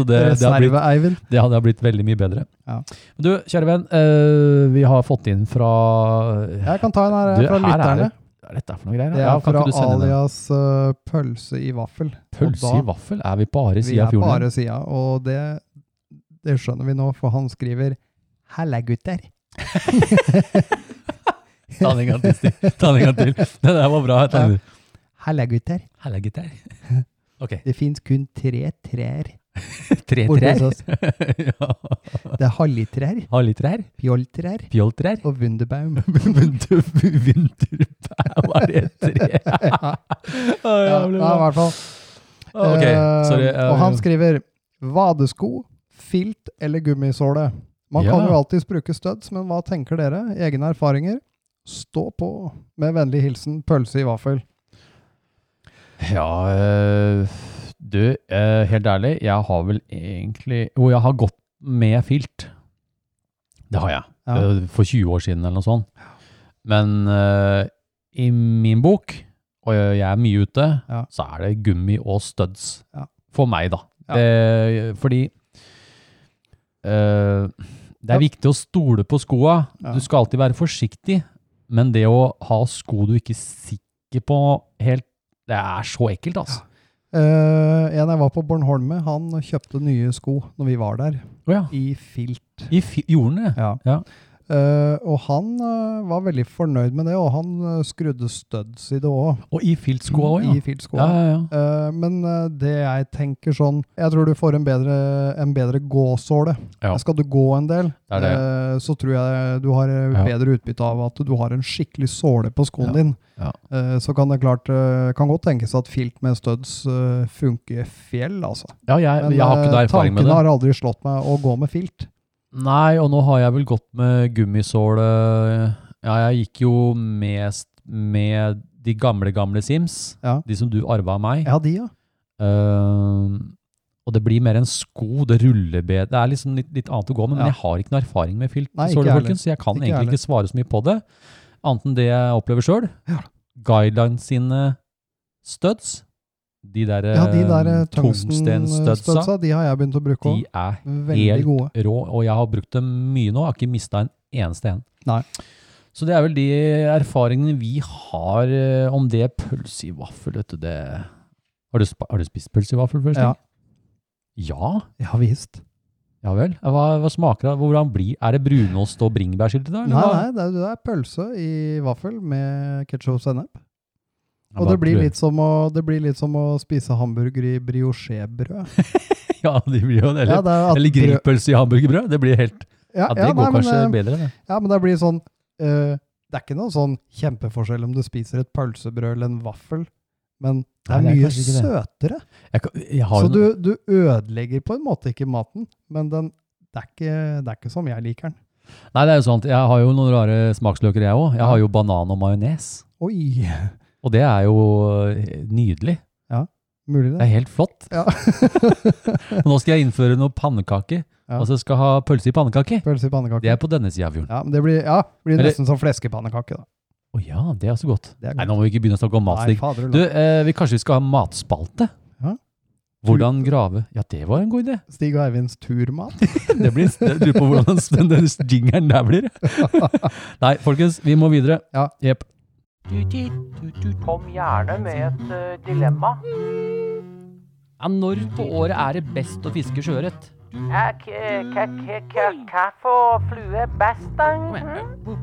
det, det, har blitt,
Reserve-Eivind.
det hadde blitt veldig mye bedre.
Ja.
Men Du, kjære venn, eh, vi har fått inn fra
Jeg kan ta en her, eh,
Du,
fra
her er
lytterne.
det- Hva er dette for noen greier?
Det er
Ja, kan
fra
ikke du sende den?
alias eh, Pølse i vaffel.
Pølse
og da-
i vaffel? Er vi bare
Vi
sida av
er
fjorden?
bare sida, og det, det skjønner vi nå, for han skriver Halla, gutter.
Ta den en gang til, (laughs) Stig. Ta den en gang til. Det der var bra. Ta den.
Halla, gutter.
Halla,
(laughs)
gutter. Ok.
Det fins kun tre trær
Tre
borte
trær.
hos oss.
(laughs) ja.
sånn Det er hallitrær,
Ha litt trær.
pjolltrær
Fjolltrær.
(laughs) og wunderbaum.
(laughs) Vinter- Vinterbær var det et tre. (laughs) Å,
Ja,
jævlig
ja,
bra.
i
Ah,
hvert fall.
Ok,
Eh,
sorry.
og han skriver vadesko, filt eller gummisåle. Man
Ja.
kan jo alltids bruke støds, men hva tenker dere? Egne erfaringer? Stå på. Med vennlig hilsen pølse i vaffel.
Ja, eh, du, eh, helt ærlig, jeg har vel egentlig Jo, jeg har gått med filt. Det har jeg.
Ja.
Eh, For 20 år siden eller noe sånt. Men eh, i min bok, og jeg jeg er mye ute,
Ja.
så er det gummi og studs.
Ja.
For meg, da.
Ja.
Det, fordi eh, det er viktig å stole på skoa.
Ja.
Du skal alltid være forsiktig, men det å ha sko du ikke er sikker på helt Det er så ekkelt, altså.
Eh, en jeg var på Bornholme, han kjøpte nye sko når vi var der,
Å ja.
i filt.
I fi- gjorde den det?
Ja.
Ja.
Eh, og han eh, var veldig fornøyd med det, og han eh, skrudde studs i det òg.
Og i filtskoa òg, ja.
Mm, I filtskoa.
Ja, ja, ja.
Eh, men eh, det jeg tenker sånn Jeg tror du får en bedre, en bedre gåsåle.
Ja.
Skal du gå en del,
Det er det.
eh, så tror jeg du har eh,
Ja.
bedre utbytte av at du har en skikkelig såle på skoen
Ja.
din.
Ja.
Eh, så kan det klart eh, kan godt tenkes at filt med studs eh, funker fjell, altså.
ja jeg, jeg har ikke noe
eh,
erfaring med
tankene
det.
har aldri slått meg å gå med filt.
Nei, og nå har jeg vel gått med gummisåle Ja, jeg gikk jo mest med de gamle, gamle Sims.
Ja.
De som du arva av meg.
Ja, de, ja.
Ehm, og det blir mer en sko, det ruller bedre. Det er liksom litt, litt annet å gå med, men
Ja.
jeg har ikke noe erfaring med filt,
Nei, ikke
såle,
jeg heller.
folkens, så jeg kan
Ikke jeg
egentlig ikke svare så mye på det. Annet enn det jeg opplever sjøl. Guidelines sine studs, de der,
ja de der eh,
eh, tungstenstudsa,
tungstenstudsa, de har jeg begynt å bruke
de
òg.
er
Veldig
helt
gode.
rå, og jeg har brukt dem mye nå. Jeg har ikke mista en eneste en.
Nei.
Så det er vel de erfaringene vi har eh, om det pølse i vaffel, vet du. Det. Har, du spa- har du spist pølse i vaffel først?
Ja.
Ja,
Ja visst.
ja vel. Hva, hva smaker det? Hvordan blir Er det brunost og bringebærsylte da?
Nei,
eller hva?
nei, det er, det er pølse i vaffel med ketsjup og sennep.
Jeg
Og
bare
det blir,
prøver.
litt som å, det blir litt som å spise hamburger i briochebrød.
(laughs) Ja, det blir jo det. (laughs)
Ja,
Eller,
det er at
eller
brød-
grillpølse i hamburgerbrød. Det blir helt
Ja,
Ja, det
ja,
går
nei, men,
kanskje
eh,
bedre, det.
Ja, men det blir sånn eh, Det er ikke noe sånn kjempeforskjell om du spiser et pølsebrød eller en vaffel, men det er
Nei, det er
mye
kanskje ikke
søtere.
Jeg, kan- jeg har
Så
jo
du,
noe-
du ødelegger på en måte ikke maten, men den, det, er ikke, det er ikke som jeg liker den.
Nei, det er jo sant. Jeg har jo noen rare smaksløker, jeg òg. Jeg har jo banan og majones.
Oi!
Og det er jo eh, nydelig.
Mulig
Det
det.
er helt flott.
Ja.
Og (laughs) nå skal jeg innføre noe pannekake.
Ja.
Altså jeg skal ha pølse i pannekake.
Pølse i
Det
pannekake.
er på denne sida av fjorden.
Ja, men det blir, ja, blir
Eller-
nesten som fleskepannekake, da.
Å ja, det er så godt.
Det er
Nei, nå må vi ikke begynne å snakke om matstig.
fader,
Du, eh, vi, kanskje vi skal ha matspalte?
Ja.
Hvordan grave Ja, det var en god idé.
Stig og Eivinds
(laughs)
turmat.
Det blir, jeg lurer på hvordan den den jingeren der
(laughs)
blir. Nei, folkens, vi må videre.
Ja.
Jep.
Kom gjerne med et eh, dilemma.
Ja, når på året er det best å fiske sjøørret?
Hva for flue best, da? hm?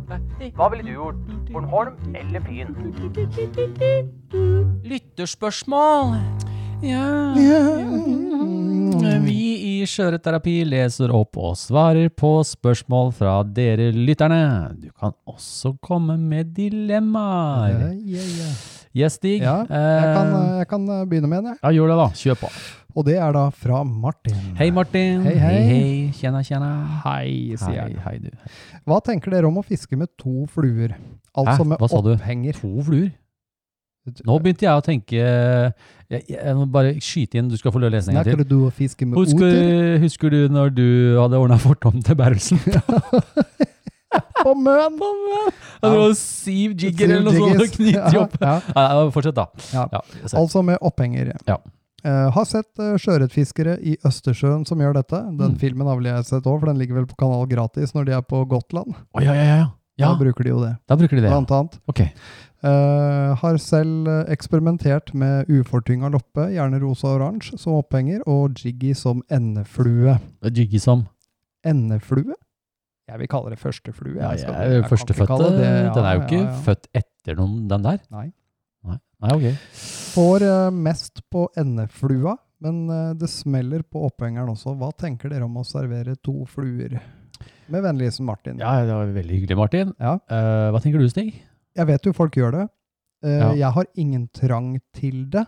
Hva ville du gjort? Bornholm eller Fyn?
Lytterspørsmål! Ja
Vi i Skjøreterapi leser opp og svarer på spørsmål fra dere lytterne. Du kan også komme med dilemmaer.
Ja, ja, ja.
Yes, Stig.
Ja, jeg kan, eh, jeg kan eh, begynne med en, jeg.
ja, gjør det, da. Kjør på.
Og det er da fra Martin.
Hei, Martin.
Hei, hei.
hei, Tjena, tjena.
Hei, sier jeg.
Hei, hei, du.
Hva tenker dere om å fiske med to fluer? Altså
Hæ?
med
Hva sa du?
opphenger.
To fluer. Nå begynte jeg å tenke Jeg, jeg må bare skyte inn. Du skal få lov å lese den en gang til.
Snakker du å fiske med
Husker,
oter
husker du når du hadde ordna fortom til Berlsen?
(laughs) på møn?
Ja, Det var Siv (laughs) Jigger eller noe sånt
Jiggis.
og knytte
Ja,
opp. (laughs)
ja.
Nei, nei, fortsett, da.
Ja.
se.
Altså med opphenger.
Ja.
Eh, har sett uh, sjøørretfiskere i Østersjøen som gjør dette. Den
Mm.
filmen har vel jeg sett òg, for den ligger vel på kanal gratis når de er på Gotland.
Å, ja, ja, ja, ja.
Da bruker de jo det,
da bruker de det. ja.
blant annet.
Ok.
Eh, har selv eh, eksperimentert med ufortynga loppe, gjerne rosa og oransje, som opphenger, og jiggy som endeflue.
Det er Jiggy som
Endeflue? Jeg vil kalle det førsteflue.
ja,
jeg skal-
jeg er
jeg kan ikke
Førstefødte.
kalle det det. Ja,
den er jo ikke
ja, ja.
født etter noen, den der.
Nei.
Nei, Nei ok.
Får eh, mest på endeflua, men eh, det smeller på opphengeren også. Hva tenker dere om å servere to fluer? Med vennlig hilsen Martin.
Ja, det var veldig hyggelig, Martin.
Ja.
Eh, hva tenker du, Stig?
Jeg vet jo folk gjør det. Eh,
Ja.
Jeg har ingen trang til det.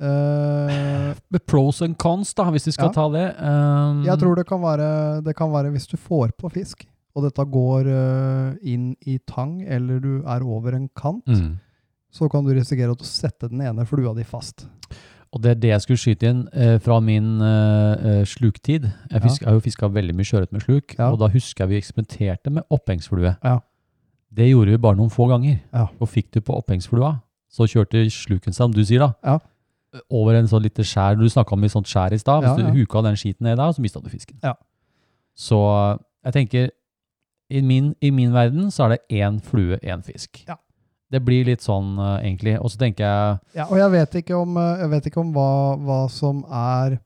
Eh,
Med pros and cons, da, hvis vi skal
Ja.
ta det. Um,
jeg tror det kan, være, det kan være hvis du får på fisk, og dette går eh, inn i tang, eller du er over en kant,
mm.
så kan du risikere å sette den ene flua di fast.
Og det er det jeg skulle skyte inn eh, fra min eh, eh, sluktid. Jeg, fisk, jeg har jo fiska veldig mye sjøørret med sluk,
Ja.
og da husker jeg vi eksperimenterte med opphengsflue.
Ja.
Det gjorde vi bare noen få ganger.
Ja.
Og fikk du på opphengsflua, så kjørte sluken seg, om du sier da,
Ja.
over en sånn lite skjær. Du snakka om et sånt skjær i stad. Hvis
Ja, ja.
du huka den skiten ned der, så mista du fisken.
Ja.
Så eh, jeg tenker, i min, i min verden så er det én flue, én fisk.
Ja.
Det blir litt sånn, eh, egentlig. Og så tenker jeg
Ja, og jeg vet ikke om, eh, jeg vet ikke om hva, hva som er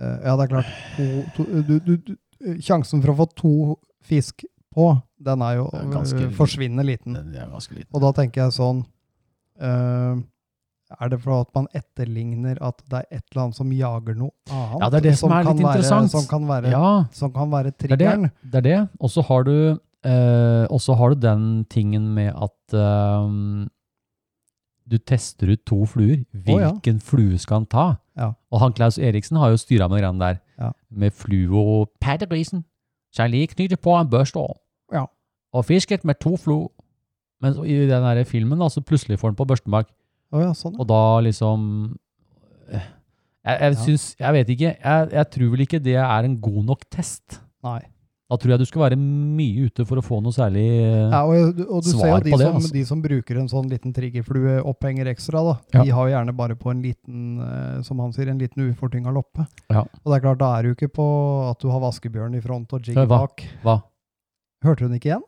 eh, Ja, det er klart to, to, du, du, du, eh, Sjansen for å få to fisk på, den er jo
Det er ganske
eh, forsvinnende liten.
Det er ganske liten.
Og da tenker jeg sånn eh, Er det for at man etterligner at det er et eller annet som jager noe annet?
Ja, det er det som er
kan
litt
være,
interessant.
Som kan være,
Ja,
som kan være
det er det.
triggeren.
det, er det. Og så har, du, eh, og så har du den tingen med at eh, du tester ut to fluer.
ja.
Hvilken flue skal han ta?
Ja.
Og han Klaus Eriksen har jo styra med greiene der.
Ja.
Med fluo paddegrisen. Kjærlig knyter på en børste
Ja.
og fisket med to fluer. Men så i den der filmen da, så plutselig får han på børsten bak.
Å ja, sånn. ja.
Og da liksom eh, Jeg, jeg
Ja.
syns Jeg vet ikke. Jeg, jeg tror vel ikke det er en god nok test.
Nei.
Da tror jeg du skal være mye ute for å få noe særlig eh,
Ja, og, du- og du
Svar
ser jo de,
på det,
som,
altså.
de som bruker en sånn liten triggerflueopphenger ekstra, da.
Ja.
De har jo gjerne bare på en liten, eh, som han sier, en liten ufortynga loppe.
Ja.
Og det er klart, da er du ikke på at du har vaskebjørn i front og jiggy
Hva?
bak.
Hva?
Hørte hun ikke igjen?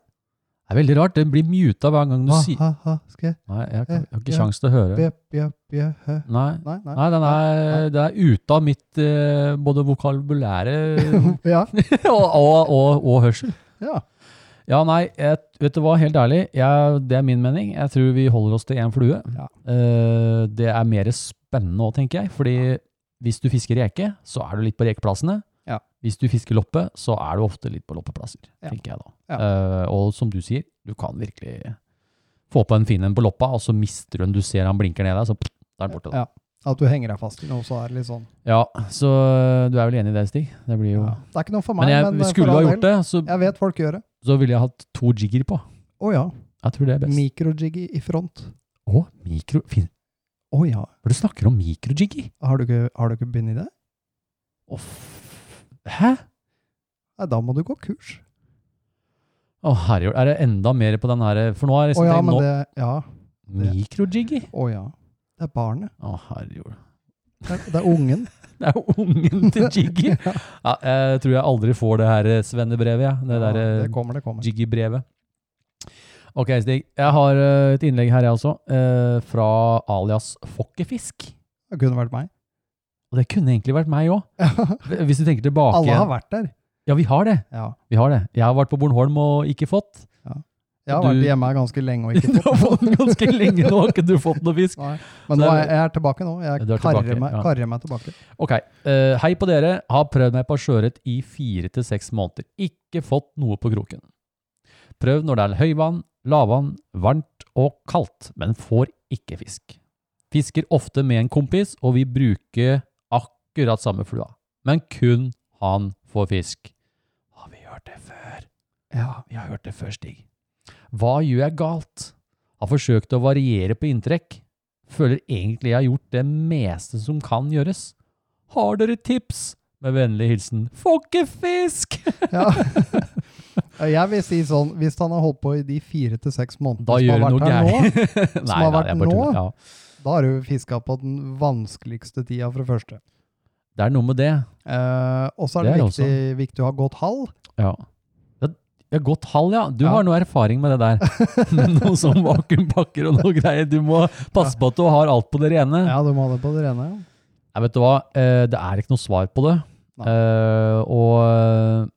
Det er veldig rart. Den blir muta hver gang du
Ha,
sier
ha, ha, skal jeg
Nei, jeg, har ikke- jeg har ikke
Ja.
kjangs til å høre.
bjø, bjø, bjø, hø.
Nei.
Nei, nei.
Nei, den er, det er ute av mitt eh, både vokabulære
(laughs)
og,
(laughs) Ja,
og, og, og hørsel.
ja.
(laughs) Ja, nei, jeg, vet du hva, helt ærlig, jeg, det er min mening. Jeg tror vi holder oss til én flue.
Ja.
Eh, det er mer spennende òg, tenker jeg. Fordi hvis du fisker reke, så er du litt på rekeplassene.
Ja.
Hvis du fisker loppe, så er du ofte litt på loppeplasser,
Ja.
tenker jeg da.
Ja.
Eh, og som du sier, du kan virkelig få på en fin en på loppa, og så mister du den. Du ser han blinker ned deg, så pff, da er den borte.
Ja. At du henger deg fast i noe, så er det litt sånn.
Ja. så eh, du er vel enig i det, Stig? Det blir jo
Ja. Det er ikke noe for meg,
Men jeg
men, eh,
skulle
for
ha
all
gjort
del,
det, så,
Jeg vet folk gjør det.
så ville jeg hatt to jigger på.
Å ja.
Jeg tror det er best.
Mikrojiggy i front.
Å, mikro... Fin.
Å ja.
For du snakker om mikrojiggy.
Har du ikke, har du ikke begynt i det?
Å, f- Hæ?
Nei, da må du gå kurs.
Å, herregud. Er det enda mer på den her For nå er jeg
Å ja, men
nå,
det Ja. det-
Mikrojiggy?
Å ja. Det er barnet.
Å, herregud.
Det er, det er ungen.
Det er jo ungen til Jiggy.
(laughs) Ja.
Ja, jeg tror jeg aldri får det her eh, svennebrevet, jeg. (laughs) Det der
Ja,
eh,
det kommer, det kommer.
Jiggy-brevet. Ok, Stig. Jeg har eh, et innlegg her, jeg også. eh, Fra alias Fokkefisk.
Det kunne vært meg. (laughs)
Og det kunne egentlig vært meg òg. Hvis du tenker tilbake
Alle har vært der.
Ja, vi har det.
Ja.
Vi har det. Jeg har vært på Bornholm og ikke fått.
Jeg har
Du-
vært hjemme ganske lenge
(laughs)
og
Du har
ikke
fått
fått
den ganske lenge nå, har ikke du fått noe fisk?
Nei. Men nå er jeg, jeg er tilbake nå. Jeg
Du er
karrer,
tilbake,
meg,
ja.
karrer meg tilbake.
Ok, eh, hei på dere. Har prøvd meg på sjøørret i fire til seks måneder. Ikke fått noe på kroken. Prøv når det er høyvann, lavvann, varmt og kaldt, men får ikke fisk. Fisker ofte med en kompis, og vi bruker akkurat samme flua. Men kun han får fisk. Har vi hørt det før? Ja, vi har hørt det før, Stig. Hva gjør jeg galt? Har forsøkt å variere på inntrekk. Føler egentlig jeg har gjort det meste som kan gjøres. Har dere tips? Med vennlig hilsen (laughs) Fokkefisk!
Ja. Jeg vil si sånn, hvis han har holdt på i de fire til seks månedene
Da
som
gjør
har
du
vært
noe
her nå,
gærent.
Som har vært
jeg bare tuller.
nå?
Ja.
(laughs) da har du fiska på den vanskeligste tida fra første.
Det er noe med det.
Eh, og så er
Det
det,
er det
viktig, viktig å ha godt hall.
Ja. Det det er godt halv, ja. Du
Ja.
har noe erfaring med det der. Med noe sånn vakuumpakker og noe greier. Du må passe på at du har alt på det rene.
Ja, du må ha det på det rene. ja.
Nei, vet du hva? Eh, Det er ikke noe svar på det.
Nei.
Eh, og eh,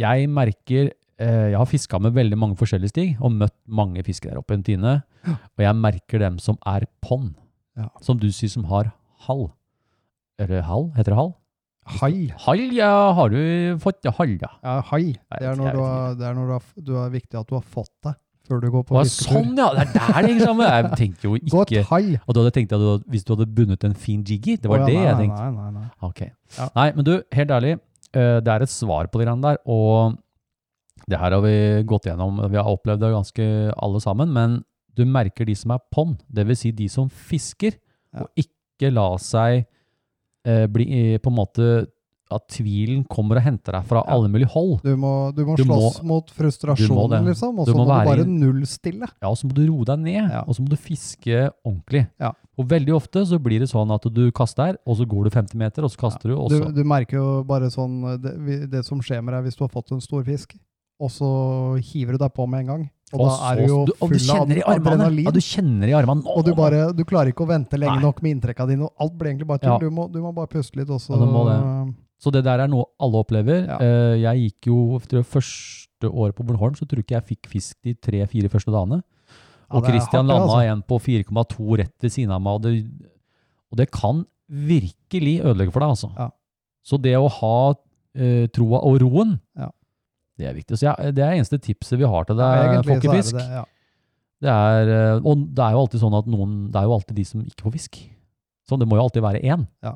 jeg merker eh, Jeg har fiska med veldig mange forskjellige stig, og møtt mange fiskere der oppe i en tine. Og jeg merker dem som er pond.
Ja.
Som du sier, som har hall. Eller hall? Heter det hall?
Hai.
Hall, ja, har du fått ja, hall, ja.
Ja, hai. Det
vet
er
ikke,
når
jeg
du
vet
har, det er når du har, du er viktig at du har fått deg før du går
Det
på
var
fisketur.
sånn, ja! Det er der det henger sammen! Jeg tenkte jo
(laughs) Godt
ikke
hai.
Og du hadde tenkt at du, hadde- hvis du hadde bundet en fin jiggy? Det var
Å ja,
det
nei,
jeg
nei,
tenkte.
Nei, nei, nei.
Ok.
Ja.
Nei, men du, helt ærlig, eh, det er et svar på det grann der, og det her har vi gått gjennom, vi har opplevd det ganske alle sammen, men du merker de som er pond, det vil si de som fisker,
Ja.
og ikke ikke la seg eh, bli eh, på en måte at tvilen kommer og henter deg fra
Ja.
alle mulige hold.
Du må, du må
Du
slåss mot frustrasjonen,
det.
liksom. Og
Du
så
må
må, du
være i-
bare nullstille.
Ja, og så må du roe deg ned,
Ja.
og så må du fiske ordentlig.
Ja.
Og veldig ofte så blir det sånn at du kaster, og så går du 50 meter, og så kaster du, og
Du,
så
du merker jo bare sånn eh, det, vi- det som skjer med deg hvis du har fått en stor fisk, og så hiver du deg på med en gang. Og,
og
da
så-
er du jo
du, og du
full av
kjenner i armene.
adrenalin.
Ja, du kjenner i armene. Nå-
og du, bare, du klarer ikke å vente lenge
Nei.
nok med inntrekka dine, og alt blir egentlig bare tull.
Ja.
Du, må, du må bare puste litt eh, også.
Ja, du må Så det der er noe alle opplever.
Ja.
Eh, Jeg gikk jo tror jeg, første året på Bornholm, så tror jeg ikke jeg fikk fisk de tre-fire første dagene.
Ja,
Og
det er
Christian
hardt, det,
landa
altså.
en på 4,2 rett ved siden av meg, og det, og det kan virkelig ødelegge for deg, altså.
Ja.
Så det å ha eh, troa og roen,
Ja.
det er viktig. Så jeg, det er eneste tipset vi har til
Ja,
deg,
egentlig så er det
Folkefisk.
det, ja.
Det er, eh, og det er jo alltid sånn at noen, det er jo alltid de som ikke får fisk. Så det må jo alltid være én.
Ja.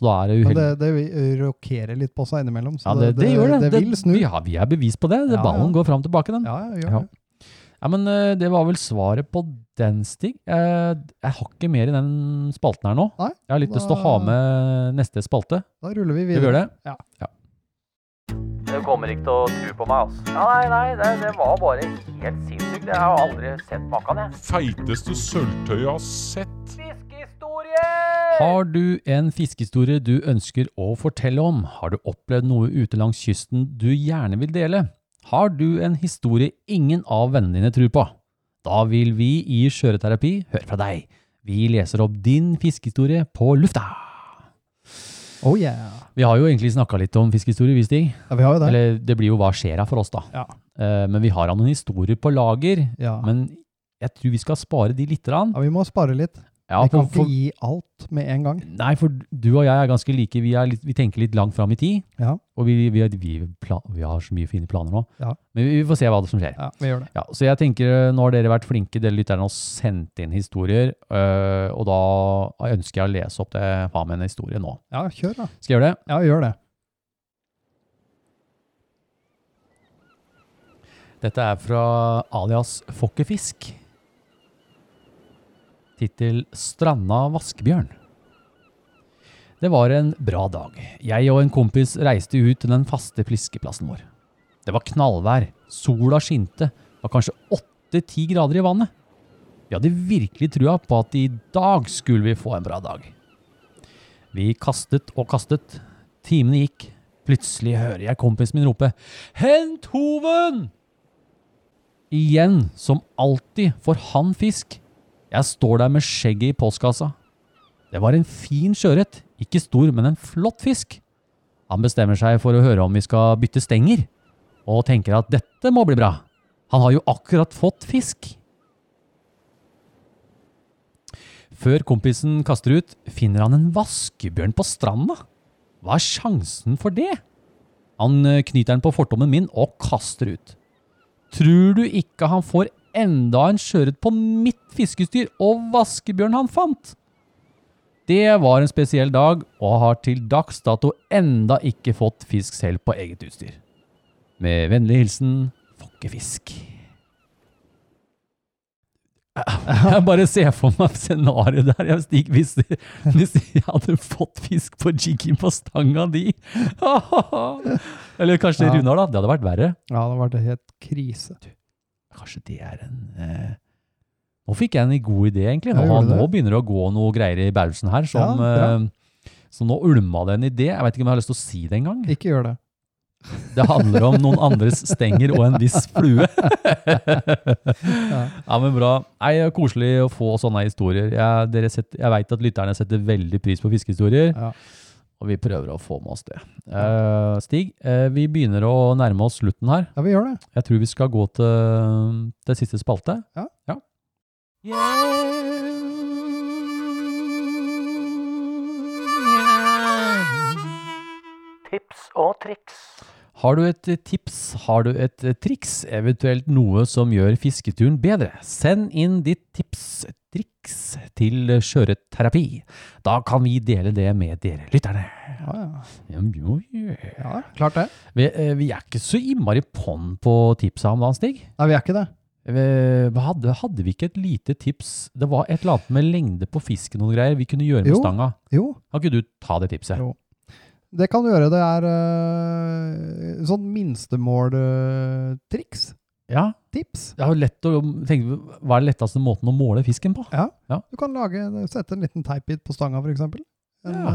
Så da er det
Men
uheldig.
det, det vil- rokerer litt på seg innimellom. Så
Ja, det, det, gjør det.
Det, vil snu.
Ja, vi er bevis på det. det
Ja,
ballen
ja.
går fram og tilbake, den. Ja.
Ja, ja, gjør
Ja.
det.
men eh, det var vel svaret på den, Stig. Eh, Jeg har ikke mer i den spalten her nå.
Nei,
Jeg har litt lyst til å ha
da-
med neste spalte.
Da ruller vi
Skal vi
videre.
gjøre det?
Ja.
Du kommer ikke til å tro på meg, altså. Ja, nei, nei, det, det var bare helt sinnssykt. Jeg har aldri sett maken, jeg.
Feiteste sølvtøyet jeg har sett.
Fiskehistorie!
Har du en fiskehistorie du ønsker å fortelle om? Har du opplevd noe ute langs kysten du gjerne vil dele? Har du en historie ingen av vennene dine tror på? Da vil vi i Skjøreterapi høre fra deg. Vi leser opp din fiskehistorie på lufta.
Oh yeah.
Vi har jo egentlig snakka litt om fiskehistorie, vi, Stig.
Ja, vi har jo det.
Eller det blir jo hva skjer her for oss, da.
Ja.
Eh, Men vi har da noen historier på lager.
ja.
Men jeg tror vi skal spare de lite grann.
ja, vi må spare litt.
Ja,
vi kan
for- for-
ikke gi alt med en gang.
Nei, for du og jeg er ganske like. Vi, er litt, vi tenker litt langt fram i tid.
Ja.
Og vi, vi, vi, pla- vi har så mye fine planer nå.
Ja.
Men vi, vi får se hva som skjer.
Ja, vi gjør det.
Ja, så jeg tenker, eh, nå har dere vært flinke, dere lytterne, og sendt inn historier. øh, og da ønsker jeg å lese opp det faen meg en historie nå.
Ja, kjør da.
Skal jeg gjøre det?
Ja, gjør det.
Dette er fra alias Fokkefisk. Tittel Stranda vaskebjørn. Det var en bra dag. Jeg og en kompis reiste ut til den faste fiskeplassen vår. Det var knallvær, sola skinte, var kanskje åtte-ti grader i vannet. Vi hadde virkelig trua på at i dag skulle vi få en bra dag. Vi kastet og kastet. Timene gikk. Plutselig hører jeg kompisen min rope 'Hent hoven!' Igjen, som alltid, får han fisk. Jeg står der med skjegget i postkassa. Det var en fin sjøørret. Ikke stor, men en flott fisk. Han bestemmer seg for å høre om vi skal bytte stenger, og tenker at dette må bli bra. Han har jo akkurat fått fisk. Før kompisen kaster ut, finner han en vaskebjørn på stranda. Hva er sjansen for det? Han eh, knyter den på fortommen min og kaster ut. Tror du ikke han får enda en sjøørret på mitt fiskestyr og vaskebjørn han fant? Det var en spesiell dag, og har til dags dato enda ikke fått fisk selv på eget utstyr. Med vennlig hilsen Fokkefisk. Jeg bare ser for meg scenarioet der. Jeg stik, hvis, hvis jeg hadde fått fisk på jiggen på stanga di (laughs) Eller kanskje
Ja.
Runar, da. Det hadde vært verre.
Ja, det var det helt krise.
Kanskje det er en eh, Nå fikk jeg en god idé, egentlig. Nå,
Ja, gjorde du
nå
det?
begynner det å gå noe greier i bausen her som
Ja,
eh, Så nå ulma det en idé. Jeg vet ikke om jeg har lyst til å si det engang.
Ikke gjør det.
Det handler om noen andres stenger og en viss
(laughs)
flue. ja, men bra. Nei, det er Koselig å få sånne historier. Jeg, dere setter- jeg veit at lytterne setter veldig pris på fiskehistorier.
Ja.
Og vi prøver å få med oss det. Eh, Stig, eh, vi begynner å nærme oss slutten her.
Ja, vi gjør det.
Jeg tror vi skal gå til, til siste spalte.
Ja.
Tips og triks.
Har du et tips, har du et triks, eventuelt noe som gjør fisketuren bedre? Send inn ditt tips, triks, til skjøreterapi. Da kan vi dele det med dere lytterne.
Ja, ja.
Ja, jo, jo.
ja klart det.
Vi, eh, vi er ikke så innmari på'n på tipsa om dagen, Stig.
Nei, vi er ikke det.
Eh, hva Hadde, hadde vi ikke et lite tips? Det var et eller annet med lengde på fisken og noen greier vi kunne gjøre med
Jo.
stanga.
Jo,
Kan ikke du ta det tipset?
Jo. det kan du gjøre. Det er eh, sånn minstemåltriks.
Ja,
Tips.
det er jo lett å tenke, Hva er den letteste måten å måle fisken på?
Du kan lage, sette en liten teipbit på stanga, f.eks.
Ja,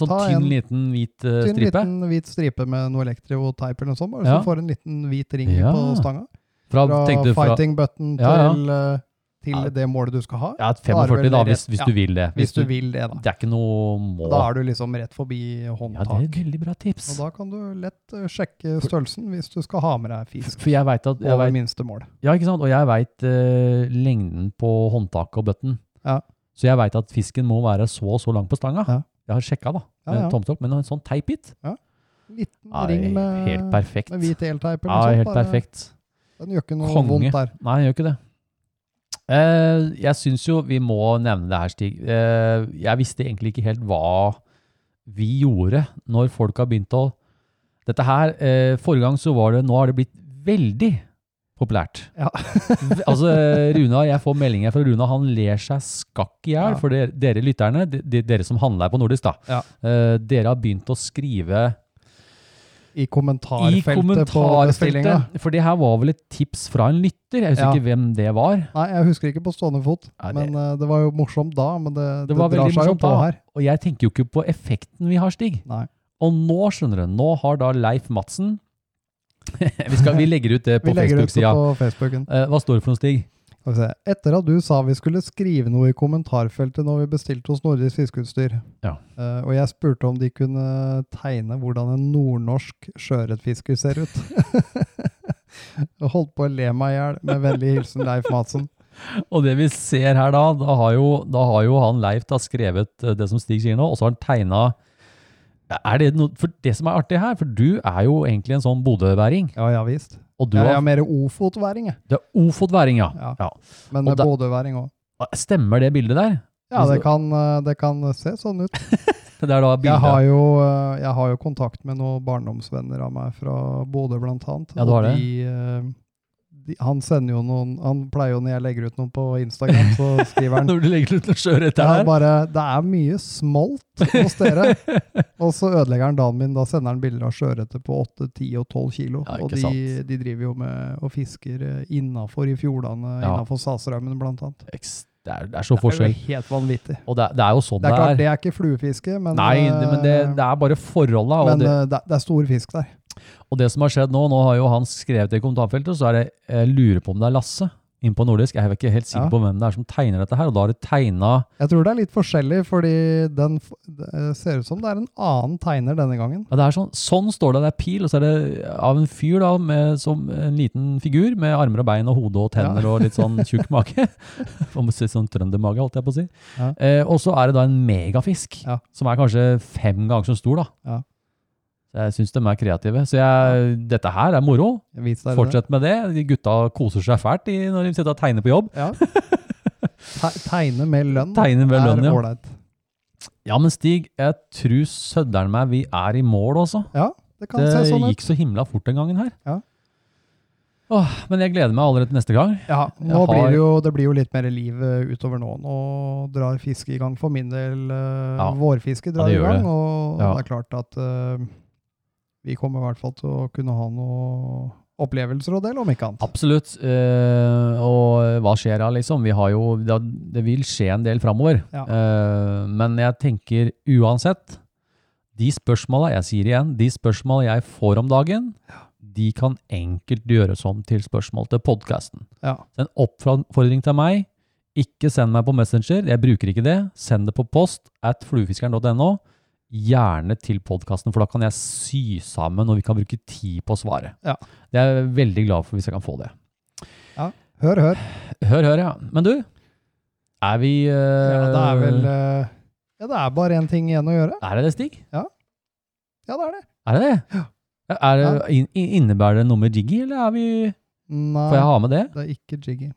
Sånn tynn, liten, hvit eh,
eh, tynn
stripe?
liten hvit stripe med noe elektroteip eller noe sånt, bare,
Ja.
så du får en liten hvit ring
Ja.
på stanga.
Fra,
Fra
tenkte du fra
fighting button til,
Ja, ja.
eh, til
Ja.
det målet du skal ha.
ja, et
Da er det
45,
vel
da,
rett-
hvis, hvis
ja,
du vil det.
Hvis du vil det, da.
Det er ikke noe mål.
Da er du liksom rett forbi
ja, det er et
håndtak.
veldig bra tips.
og da kan du lett eh, sjekke størrelsen hvis du skal ha med deg fisk
For jeg vet at jeg
over
vet,
minste mål.
Ja, ikke sant? Og jeg veit eh, lengden på håndtaket og bøtten.
Ja.
Så jeg veit at fisken må være så og så lang på stanga.
Ja.
Jeg har sjekka, da.
Ja,
med
ja.
Tomstokk, men en sånn teipbit
Liten
Nei,
ring med,
Helt perfekt.
med hvit elteip
Ja,
eller noe sånt.
helt
bare-
perfekt.
Den gjør ikke noe
Konge.
vondt der.
Nei, jeg gjør ikke det. Eh, jeg syns jo vi må nevne det her, Stig. Eh, jeg visste egentlig ikke helt hva vi gjorde når folk har begynt å Dette her eh, Forrige gang så var det Nå har det blitt veldig populært.
Ja.
V- (laughs) altså, Runa, jeg får meldinger fra Runa. Han ler seg skakk i hjel.
Ja.
For dere, dere lytterne, de, de, dere som handler på Nordisk, da.
Ja.
Eh, dere har begynt å skrive
I
i
kommentarfeltet, på bestillinga.
kommentarfeltet. For det her var vel et tips fra en lytter. Jeg husker
Ja.
ikke hvem det var.
Nei, jeg husker ikke på stående fot,
Ja, det-
men eh, det var jo morsomt da. Men det,
Det var
drar
veldig
seg jo
morsomt
på
da.
her.
Og jeg tenker jo ikke på effekten vi har, Stig.
Nei.
Og nå, skjønner du, nå har da Leif Madsen (laughs) vi, skal, vi legger ut det på
(laughs) Vi legger ut det
Facebook-sida.
på Facebooken.
Eh, hva står det for noe, Stig?
Skal vi se. Etter at du sa vi skulle skrive noe i kommentarfeltet når vi bestilte hos Nordisk Fiskeutstyr,
Ja.
eh, og jeg spurte om de kunne tegne hvordan en nordnorsk sjøørretfisker ser ut (laughs) Og Holdt på å le meg i hjel. Med vennlig hilsen Leif Madsen.
Og det vi ser her da, da har jo, da har jo han Leif da skrevet eh, det som Stig sier nå, og så har han tegna er det, noe, for det som er artig her, for du er jo egentlig en sånn bodøværing.
Ja, ja visst.
Og du
Jeg er
har,
mer ofotværing, jeg.
det er ofotværing, ja.
Ja.
ja.
Men
Og da-
bodøværing òg.
Stemmer det bildet der? (laughs)
Ja, det kan, eh, det kan se sånn ut.
Det er da
Jeg
bildet.
har, jo, eh, jeg har jo kontakt med noen barndomsvenner av meg fra Bodø, blant annet.
Ja, du har
Og
det.
De, eh, de, han sender jo noen Han pleier jo når jeg legger ut noen på Instagram, så
(laughs)
skriver han
(laughs) Når du legger ut en sjøørret
ja,
her.
bare, Det er mye smolt hos
(laughs)
dere. og så ødelegger han dagen min. Da sender han bilder av sjøørreter på 8, 10 og 12 kilo.
Ja, ikke
og de,
sant.
de driver jo med og fisker eh, innafor i fjordene,
Ja.
innafor Salsraumen blant annet.
Ekst- Det er, det er så
Det er
forskjell.
jo helt vanvittig.
Og det, er- det er jo sånn
Det
det
er
er.
klart, det er ikke fluefiske, men, eh,
Nei, det, men det, det er bare forholda. Og,
men,
det,
eh, det, det er stor fisk der.
og det som har skjedd nå, nå har jo han skrevet det i kommentarfeltet, så er det, jeg lurer på om det er Lasse inn på Nordisk. Jeg er ikke helt sikker
Ja.
på hvem det er som tegner dette her, og da har det tegna
Jeg tror det er litt forskjellig, fordi den f- det eh, ser ut som det er en annen tegner denne gangen.
ja, det er sånn, sånn står det, det er pil, og så er det av en fyr da, med, som en liten figur, med armer og bein og hode og tenner og litt sånn tjukk
(laughs)
mage. Om å si sånn trøndermage, holdt jeg på å si.
Ja.
Eh, og så er det da en megafisk,
Ja.
som er kanskje fem ganger så stor da.
Ja.
Så jeg synes de er kreative. Så jeg, dette her er moro.
Jeg viser dere
Fortsett med det. De gutta koser seg fælt de, når de sitter og tegner på jobb.
det. Ja. Te tegne med lønn
Tegne med lønn, ja.
er ålreit.
Ja, men Stig, jeg tror sødderen meg vi er i mål også.
Ja, det kan
Det
se sånn ut.
gikk så himla fort den gangen her.
Ja.
Åh, men jeg gleder meg allerede til neste gang.
Ja, nå
Jeg har-
blir det, jo, det blir jo litt mer liv eh, utover nå. Nå drar fisket i gang for min del. eh,
Ja.
Vårfisket
Ja,
drar
det
i
gjør
gang,
det.
og
Ja.
det er klart at eh, vi kommer i hvert fall til å kunne ha noen opplevelser å dele, om ikke annet.
Absolutt. eh, og hva skjer da, liksom? Vi har jo, det, det vil skje en del framover.
Ja.
Eh, men jeg tenker uansett De spørsmåla jeg sier igjen, de spørsmåla jeg får om dagen, de kan enkelt gjøres om til spørsmål til podkasten.
Ja.
Så en oppfordring til meg, ikke send meg på Messenger, jeg bruker ikke det. Send det på post at fluefiskeren.no, gjerne til podkasten, for da kan jeg sy sammen, og vi kan bruke tid på å svare.
Ja.
Det er jeg veldig glad for hvis jeg kan få det.
Hør, hør.
Hør, hør, ja. Men du, er vi eh,
Ja, det er vel eh, Ja, det er bare én ting igjen å gjøre.
Er det det, Stig?
Ja, det er det.
Er det det? Ja. Er det in, innebærer det noe med Jiggy, eller er vi
Nei,
Får jeg ha med det?
det er ikke Jiggy.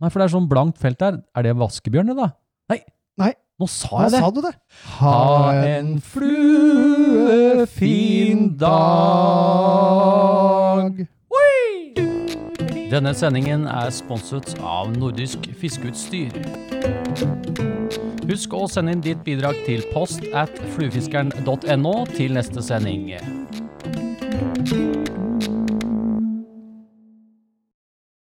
Nei, for det er sånn blankt felt der. Er det vaskebjørn, det da? Nei.
Nei.
Nå sa
Hva
jeg det.
sa du det?
Ha en fluefin dag. Oi! Denne sendingen er sponset av Nordisk Fiskeutstyr. Husk å sende inn ditt bidrag til post at fluefiskeren.no til neste sending.